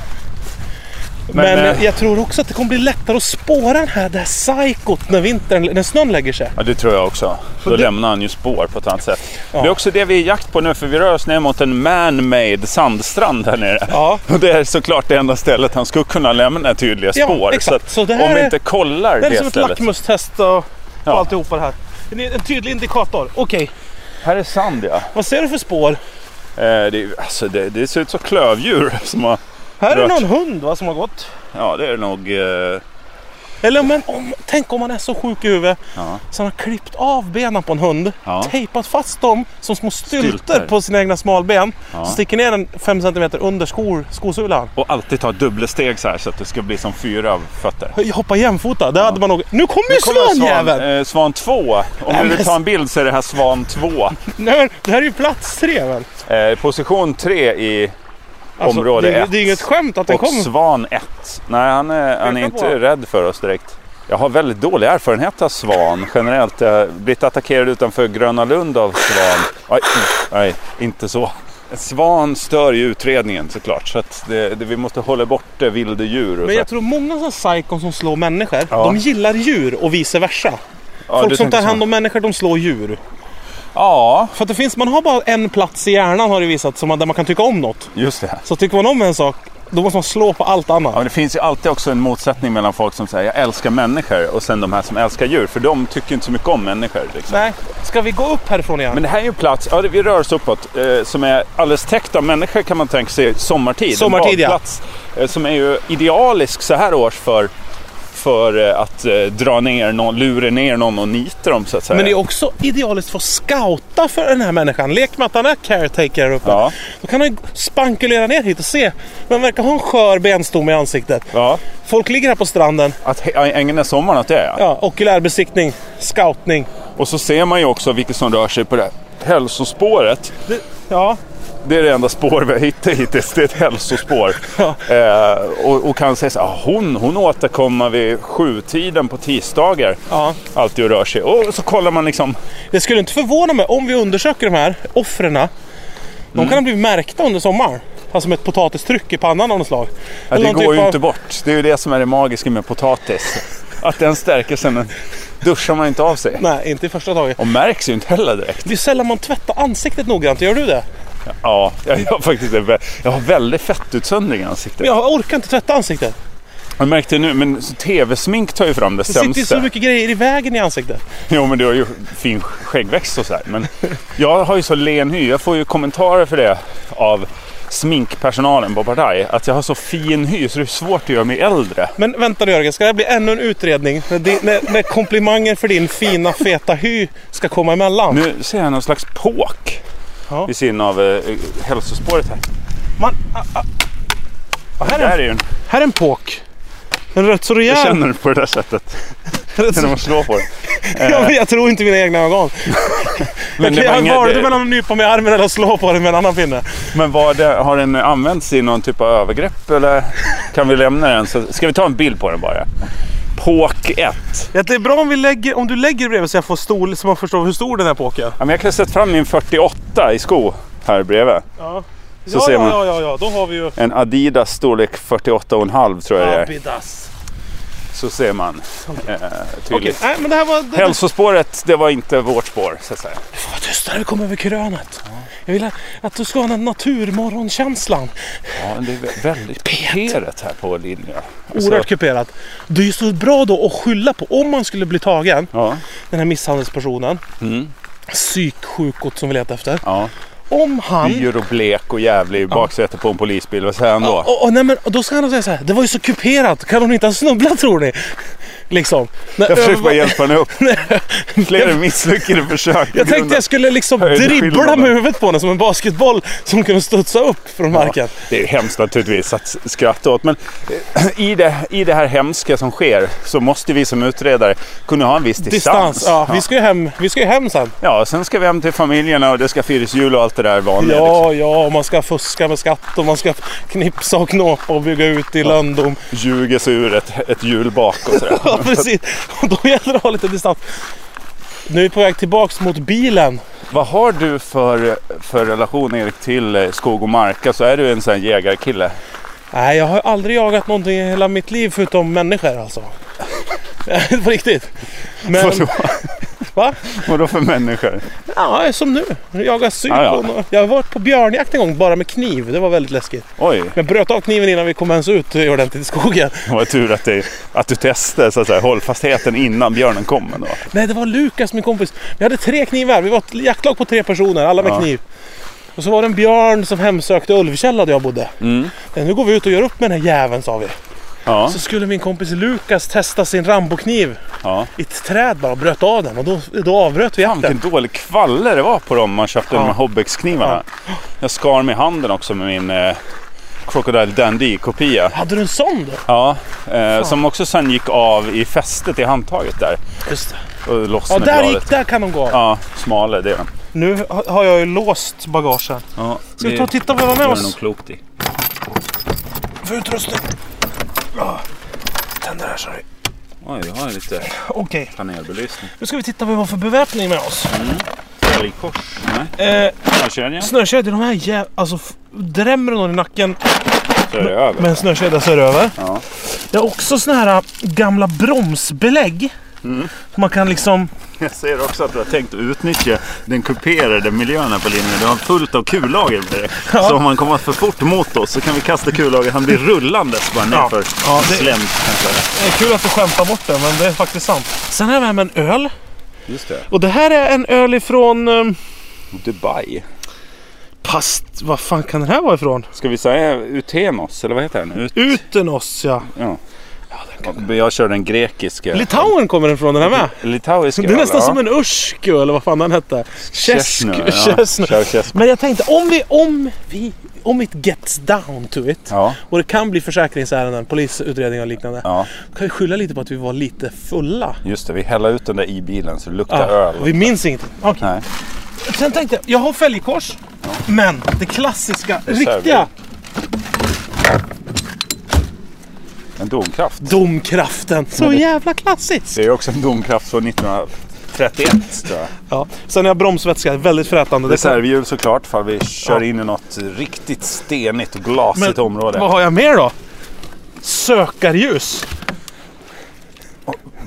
Speaker 1: Men,
Speaker 2: Men,
Speaker 1: eh,
Speaker 2: eh, jag tror också att det kommer bli lättare att spåra den här, det här psykot när, vintern, när snön lägger sig.
Speaker 1: ja, det tror jag också. Då lämnar han ju spår på ett annat sätt.
Speaker 2: Ja.
Speaker 1: Det är också det vi är i jakt på nu, för vi rör oss ner mot en man-made sandstrand här nere.
Speaker 2: Ja.
Speaker 1: Och det är såklart det enda stället han skulle kunna lämna tydliga
Speaker 2: Ja,
Speaker 1: spår.
Speaker 2: exakt.
Speaker 1: att
Speaker 2: Så det här
Speaker 1: om vi
Speaker 2: är-
Speaker 1: inte kollar
Speaker 2: Det
Speaker 1: det,
Speaker 2: är som ett
Speaker 1: stället.
Speaker 2: lackmustest och, och
Speaker 1: Ja.
Speaker 2: alltihopa det här. En, en tydlig indikator. Okej,
Speaker 1: Här är sand ja.
Speaker 2: vad ser du för spår?
Speaker 1: Eh, det, är- alltså, det, det ser ut som klövdjur som har...
Speaker 2: Här är
Speaker 1: Rött.
Speaker 2: någon hund va, som har gått.
Speaker 1: Ja, det är nog... Eh,
Speaker 2: Eller men, om, tänk om man är så sjuk i huvudet
Speaker 1: Ja.
Speaker 2: så han har klippt av benen på en hund,
Speaker 1: Ja.
Speaker 2: tejpat fast dem som små stylter,
Speaker 1: Stylter.
Speaker 2: på sina egna smalben.
Speaker 1: Ja.
Speaker 2: Så sticker ner den 5 cm under skor, skosulan.
Speaker 1: Och alltid ta dubbelsteg så här så att det ska bli som fyra av fötter.
Speaker 2: Hoppa jämfota, det hade man nog... Nu kommer ju
Speaker 1: Kolla,
Speaker 2: svanjäveln!
Speaker 1: eh, svan 2. Om
Speaker 2: Nej,
Speaker 1: du vill
Speaker 2: men-
Speaker 1: ta en bild så är det här svan 2.
Speaker 2: Nej men det här är ju plats tre väl? Alltså,
Speaker 1: Eh, position 3 i område
Speaker 2: det, är-
Speaker 1: 1.
Speaker 2: det är inget skämt att den
Speaker 1: Och
Speaker 2: kommer.
Speaker 1: svan 1. Nej, han är, han är
Speaker 2: Peka
Speaker 1: inte
Speaker 2: på.
Speaker 1: rädd för oss direkt. Jag har väldigt dålig erfarenhet av svan generellt. Jag har blivit attackerad utanför Gröna Lund av svan. Aj, nej, inte så. Svan stör ju utredningen såklart. Så att det, det, vi måste hålla borta vilda djur. och
Speaker 2: Men
Speaker 1: så.
Speaker 2: jag tror många sådana psykon som slår människor,
Speaker 1: Ja.
Speaker 2: de gillar djur och vice versa.
Speaker 1: Ja, du
Speaker 2: Folk som
Speaker 1: tänker
Speaker 2: tar
Speaker 1: så.
Speaker 2: hand om människor, de slår djur.
Speaker 1: Ja,
Speaker 2: För att det finns, man har bara en plats i hjärnan har det visat som man, där man kan tycka om något.
Speaker 1: just det.
Speaker 2: Så tycker man om en sak, då måste man slå på allt annat.
Speaker 1: Ja, men det finns ju alltid också en motsättning mellan folk som säger jag älskar människor och sen de här som älskar djur. För de tycker inte så mycket om människor. Liksom.
Speaker 2: Nej, ska vi gå upp härifrån igen?
Speaker 1: Men det här är ju en plats, ja, det- vi rör oss uppåt, eh, som är alldeles täckt av människor kan man tänka sig sommartid.
Speaker 2: Sommartid,
Speaker 1: en
Speaker 2: ja.
Speaker 1: badplats, eh, som är ju idealisk så här års för för eh, att eh, dra ner någon, lura ner någon och nita dem så att säga.
Speaker 2: Men det är också idealiskt för att scouta för den här människan. Lek med att han är caretaker här uppe.
Speaker 1: Ja.
Speaker 2: Då kan han ju spankulera ner hit och se. Men verkar ha en skör benstomme i ansiktet.
Speaker 1: Ja,
Speaker 2: Folk ligger här på stranden.
Speaker 1: att he- ägna sommaren åt det ja.
Speaker 2: Ja, okulärbesiktning, scoutning.
Speaker 1: Och så ser man ju också vilka som rör sig på det här hälsospåret.
Speaker 2: Det- Ja,
Speaker 1: Det är det enda spår vi har hittat hittills. Det är ett hälsospår. eh, och, och kan säga så här, "Ah, hon, hon återkommer vid sjutiden på tisdagar.
Speaker 2: Ja.
Speaker 1: Alltid och rör sig. Och så kollar man liksom.
Speaker 2: det skulle inte förvåna mig om vi undersöker de här offren. De
Speaker 1: Mm.
Speaker 2: kan ha blivit märkta under sommaren. Alltså med ett potatistryck i pannan av något slag.
Speaker 1: Ja,
Speaker 2: Eller
Speaker 1: det
Speaker 2: någon
Speaker 1: går
Speaker 2: typ
Speaker 1: ju
Speaker 2: av-
Speaker 1: inte bort. Det är ju det som är det magiska med potatis. Att den stärker sen den duschar man inte av sig.
Speaker 2: Nej, inte i första taget.
Speaker 1: Och märks ju inte heller direkt.
Speaker 2: Det är sällan man tvättar ansiktet noggrant, gör du det?
Speaker 1: Ja, jag, jag, har faktiskt, en vä- jag har väldigt fettutsöndring i ansiktet.
Speaker 2: Men jag orkar inte tvätta ansiktet.
Speaker 1: Jag märkte nu, men så tv-smink tar ju fram det
Speaker 2: Det sitter ju
Speaker 1: sämsta.
Speaker 2: så mycket grejer i vägen i ansiktet.
Speaker 1: Jo, men du har ju fin skäggväxt och så här. Men jag har ju så len hy. Jag får ju kommentarer för det av sminkpersonalen på Partaj. Att jag har så fin hy så det är svårt att göra mig äldre.
Speaker 2: Men vänta nu Jörgen, ska det här bli ännu en utredning? När, di- när, när komplimanger för din fina feta hy ska komma emellan?
Speaker 1: Nu ser jag någon slags påk
Speaker 2: Ja.
Speaker 1: vid sidan av eh, hälsospåret här.
Speaker 2: Man, ah, ah. Ah, här,
Speaker 1: Det
Speaker 2: är,
Speaker 1: här
Speaker 2: en-
Speaker 1: är ju en,
Speaker 2: här är en påk. En rätt så
Speaker 1: jag
Speaker 2: rejäl.
Speaker 1: känner det på det där sättet.
Speaker 2: Rätt
Speaker 1: När
Speaker 2: så-
Speaker 1: man slår på det.
Speaker 2: Ja, men jag tror inte mina egna ögon.
Speaker 1: Men, det var
Speaker 2: jag
Speaker 1: inget-
Speaker 2: valde
Speaker 1: det-
Speaker 2: mellan att nypa mig i armen eller att slå på den med en annan pinne.
Speaker 1: men var det, har den använts i någon typ av övergrepp eller kan vi lämna den? Så, ska vi ta en bild på den bara? Påk 1.
Speaker 2: Ja, Det är bra om, vi lägger, om du lägger det bredvid så jag får stor, så man förstår hur stor den här påken är.
Speaker 1: Ja, men jag kan sätta fram min 48 i sko här bredvid.
Speaker 2: Ja.
Speaker 1: Så
Speaker 2: ja,
Speaker 1: ser
Speaker 2: ja,
Speaker 1: man.
Speaker 2: ja, ja, ja, då har vi ju...
Speaker 1: En Adidas storlek 48,5 tror jag det är.
Speaker 2: Abidas.
Speaker 1: Så ser man eh,
Speaker 2: Okej,
Speaker 1: tydligt.
Speaker 2: nej men det här var... Det,
Speaker 1: Hälsospåret, det var inte vårt spår så att säga.
Speaker 2: Vad tyst när vi kommer över krönet. Jag vill att du ska ha den här naturmorgonkänslan.
Speaker 1: Ja, men det är väldigt peret här på linjen. Alltså,
Speaker 2: Oerhört kuperat. Det är ju så bra då att skylla på om man skulle bli tagen,
Speaker 1: Ja,
Speaker 2: den här misshandelspersonen.
Speaker 1: Mm.
Speaker 2: Psyksjukot som vi letar efter.
Speaker 1: ja.
Speaker 2: Om han...
Speaker 1: Yr och blek och jävlig i baksätet på en polisbil. Vad säger han då?
Speaker 2: Och, och, nej, men, då ska han säga så här, det var ju så kuperat, kan hon inte ha snubblat tror ni? Liksom. När
Speaker 1: Jag försöker bara
Speaker 2: överva-
Speaker 1: hjälpa henne upp. Flera misslyckade försök.
Speaker 2: Jag tänkte jag skulle liksom dribbla
Speaker 1: Höjdskillnaden.
Speaker 2: med huvudet på henne som en basketboll som kunde studsa upp från marken.
Speaker 1: Det är ju hemskt naturligtvis att skratta åt. Men eh, i det, i det här hemska som sker så måste vi som utredare kunna ha en viss distans.
Speaker 2: Distans. Ja, Vi, ska ju hem, vi ska ju hem sen.
Speaker 1: Ja, sen ska vi hem till familjerna och det ska firas jul och allt det där vanliga. liksom.
Speaker 2: Ja, ja, och man ska fuska med skatt och man ska knipsa och knåpa och bygga ut i löndom.
Speaker 1: Ljuger liksom. sig ur ett, ett julbak och sådär.
Speaker 2: Ja, precis. Och då gäller det att ha lite distans. Nu är vi på väg tillbaks mot bilen.
Speaker 1: Vad har du för, för relation Erik till eh, skog och mark? Alltså är du en sån här jägarkille?
Speaker 2: Nej, jag har aldrig jagat någonting i hela mitt liv förutom människor alltså. På riktigt. Men,
Speaker 1: Vadå?
Speaker 2: va?
Speaker 1: Vadå för människor?
Speaker 2: Ja, som nu. Jag jagar syn.
Speaker 1: Ja, ja.
Speaker 2: och- Jag har varit på björnjakt en gång bara med kniv. Det var väldigt läskigt.
Speaker 1: Oj,
Speaker 2: Jag bröt av kniven innan vi kom ens ut eh, ordentligt i skogen.
Speaker 1: vad tur att, det, att du testade så att säga, hållfastheten innan björnen kom. Ändå.
Speaker 2: Nej, det var Lukas, min kompis. Vi hade tre knivar. Vi var ett jaktlag på tre personer, alla med
Speaker 1: Ja.
Speaker 2: kniv. Och så var det en björn som hemsökte Ulvkälla där jag bodde. Eh, Nu går vi ut och gör upp med den här jäveln, sa vi.
Speaker 1: Mm. Ja,
Speaker 2: Så skulle min kompis Lukas testa sin Rambokniv
Speaker 1: ja.
Speaker 2: i ett träd bara och bröt av den. Och då, då avbröt vi
Speaker 1: Fan
Speaker 2: jakten.
Speaker 1: vilken dålig kvalle det var på dem man köpte de
Speaker 2: Ja.
Speaker 1: här Hobbex-knivarna. Jag skar mig i handen också med min eh, Crocodile Dundee-kopia.
Speaker 2: Hade du en sån då?
Speaker 1: Ja, eh, som också sen gick av i fästet i handtaget där.
Speaker 2: Just det.
Speaker 1: Och
Speaker 2: Ja,
Speaker 1: lossnade
Speaker 2: där,
Speaker 1: bladet.
Speaker 2: gick, där kan de gå av.
Speaker 1: Ja, smale det.
Speaker 2: Nu ha- har jag ju låst bagagen.
Speaker 1: Ja,
Speaker 2: Ska vi ta och titta vad vi har med oss?
Speaker 1: klokt i.
Speaker 2: För utrustning. Tänder här, sorry.
Speaker 1: Oj, vi har lite
Speaker 2: Okej,
Speaker 1: panelbelysning.
Speaker 2: nu ska vi titta vad vi har för beväpning med oss.
Speaker 1: Älgkors? Nej,
Speaker 2: Eh,
Speaker 1: snökedja.
Speaker 2: Snökedjor, de här jä... Alltså, f- drämmer du någon i nacken
Speaker 1: Så är det över.
Speaker 2: med en snökedja så är det över.
Speaker 1: Ja.
Speaker 2: Jag har också såna här eh, gamla bromsbelägg. Man kan liksom...
Speaker 1: Jag ser också att du har tänkt att utnyttja den kuperade miljön här på linjen. Du har fullt av kullager med dig. Så om han kommer för fort mot oss så kan vi kasta kullager. Han blir rullandes bara nerför
Speaker 2: Ja. Ja, det-
Speaker 1: slämt. kanske.
Speaker 2: Det är kul att du skämtar bort det, men det är faktiskt sant. Sen har jag med mig en öl.
Speaker 1: Just det.
Speaker 2: Och det här är en öl ifrån... ehm,
Speaker 1: Dubai.
Speaker 2: past... Vad fan kan den här vara ifrån?
Speaker 1: Ska vi säga Utenos? Eller vad heter den? Ut...
Speaker 2: Utenos, ja.
Speaker 1: Ja. Jag kör den grekiska.
Speaker 2: Litauen kommer den från den här med.
Speaker 1: Litauiska.
Speaker 2: Det är nästan
Speaker 1: ja.
Speaker 2: som en ursku eller vad fan den hette. Tjesk.
Speaker 1: Tjesknu, ja.
Speaker 2: Tjesknu.
Speaker 1: Kör tjesknu.
Speaker 2: Men jag tänkte om vi, om vi, om it gets down to it.
Speaker 1: Ja.
Speaker 2: Och det kan bli försäkringsärenden, polisutredningar och liknande.
Speaker 1: Ja,
Speaker 2: Kan vi skylla lite på att vi var lite fulla.
Speaker 1: just det. Vi hällde ut den där i bilen så det luktar
Speaker 2: Ja,
Speaker 1: öl.
Speaker 2: vi minns ingenting. Okej.
Speaker 1: Nej.
Speaker 2: Sen tänkte jag, jag har fälgkors. Men det klassiska,
Speaker 1: Reservdunk.
Speaker 2: riktiga
Speaker 1: En domkraft.
Speaker 2: domkraften. Så
Speaker 1: Men det-
Speaker 2: jävla klassiskt.
Speaker 1: Det är också en domkraft från 1931 tror jag.
Speaker 2: Ja. Sen har jag bromsvätska, väldigt frätande. Det är-
Speaker 1: Reservhjul såklart ifall vi kör
Speaker 2: Ja.
Speaker 1: in i något riktigt stenigt och glasigt
Speaker 2: Men
Speaker 1: område.
Speaker 2: vad har jag mer då? Sökarljus.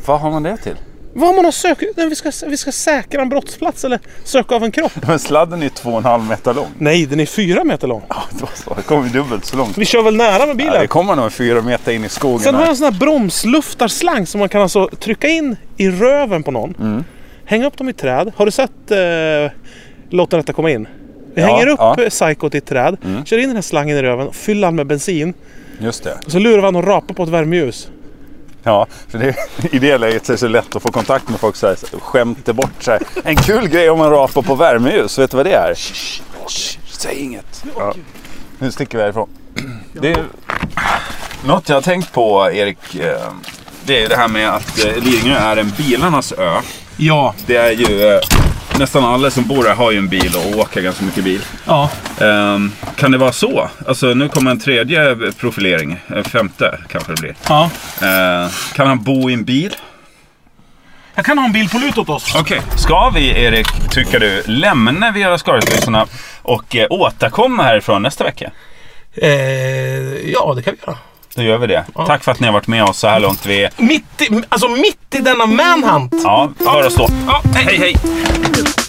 Speaker 1: Vad har man det till?
Speaker 2: Vad har man att söka? Nej, Vi ska, vi ska säkra en brottsplats eller söka av en kropp.
Speaker 1: Men sladden är ju 2,5 meter lång.
Speaker 2: Nej, den är fyra meter lång.
Speaker 1: Ja, det var så. Det kommer dubbelt så långt.
Speaker 2: Vi kör väl nära med
Speaker 1: Ja, det
Speaker 2: bilen.
Speaker 1: kommer nog fyra meter in i skogen.
Speaker 2: Sen har
Speaker 1: här.
Speaker 2: jag en sån här bromsluftarslang som man kan alltså trycka in i röven på någon. Hänga upp dem i träd. Har du sett eh, Låt den rätta komma in? Vi
Speaker 1: Ja,
Speaker 2: hänger upp
Speaker 1: ja.
Speaker 2: ja. Mm. psykot i ett träd, kör in den här slangen i röven, fyller han med bensin.
Speaker 1: Just det.
Speaker 2: Och så lurar vi han och rapar på ett värmeljus.
Speaker 1: Ja, för det, i det läget så är det så lätt att få kontakt med folk så här, så skämter bort sig. En kul grej om man rapar på värmeljus, vet du vad det är? Säg inget. Ja. Nu sticker vi härifrån. Det är, något jag har tänkt på Erik, eh, det är ju det här med att eh, Lidingö är en bilarnas ö.
Speaker 2: Ja,
Speaker 1: Det är ju eh, nästan alla som bor här har ju en bil och åker ganska mycket bil.
Speaker 2: ja.
Speaker 1: Ehm, kan det vara så? Alltså nu kommer en tredje profilering, en femte kanske det blir.
Speaker 2: ja.
Speaker 1: Eh, kan han bo i en bil?
Speaker 2: Jag kan ha en bild på lut åt oss.
Speaker 1: Okej, ska vi Erik, tycker du, lämna Vera Skaris-lyssnarna och eh, återkomma härifrån nästa vecka?
Speaker 2: Eh, ja, det kan vi göra.
Speaker 1: Då gör vi det. Tack för att ni har varit med oss så här långt. Vi,
Speaker 2: Mitt i, alltså mitt i denna manhunt.
Speaker 1: ja, hör och stå. Ja, hej hej!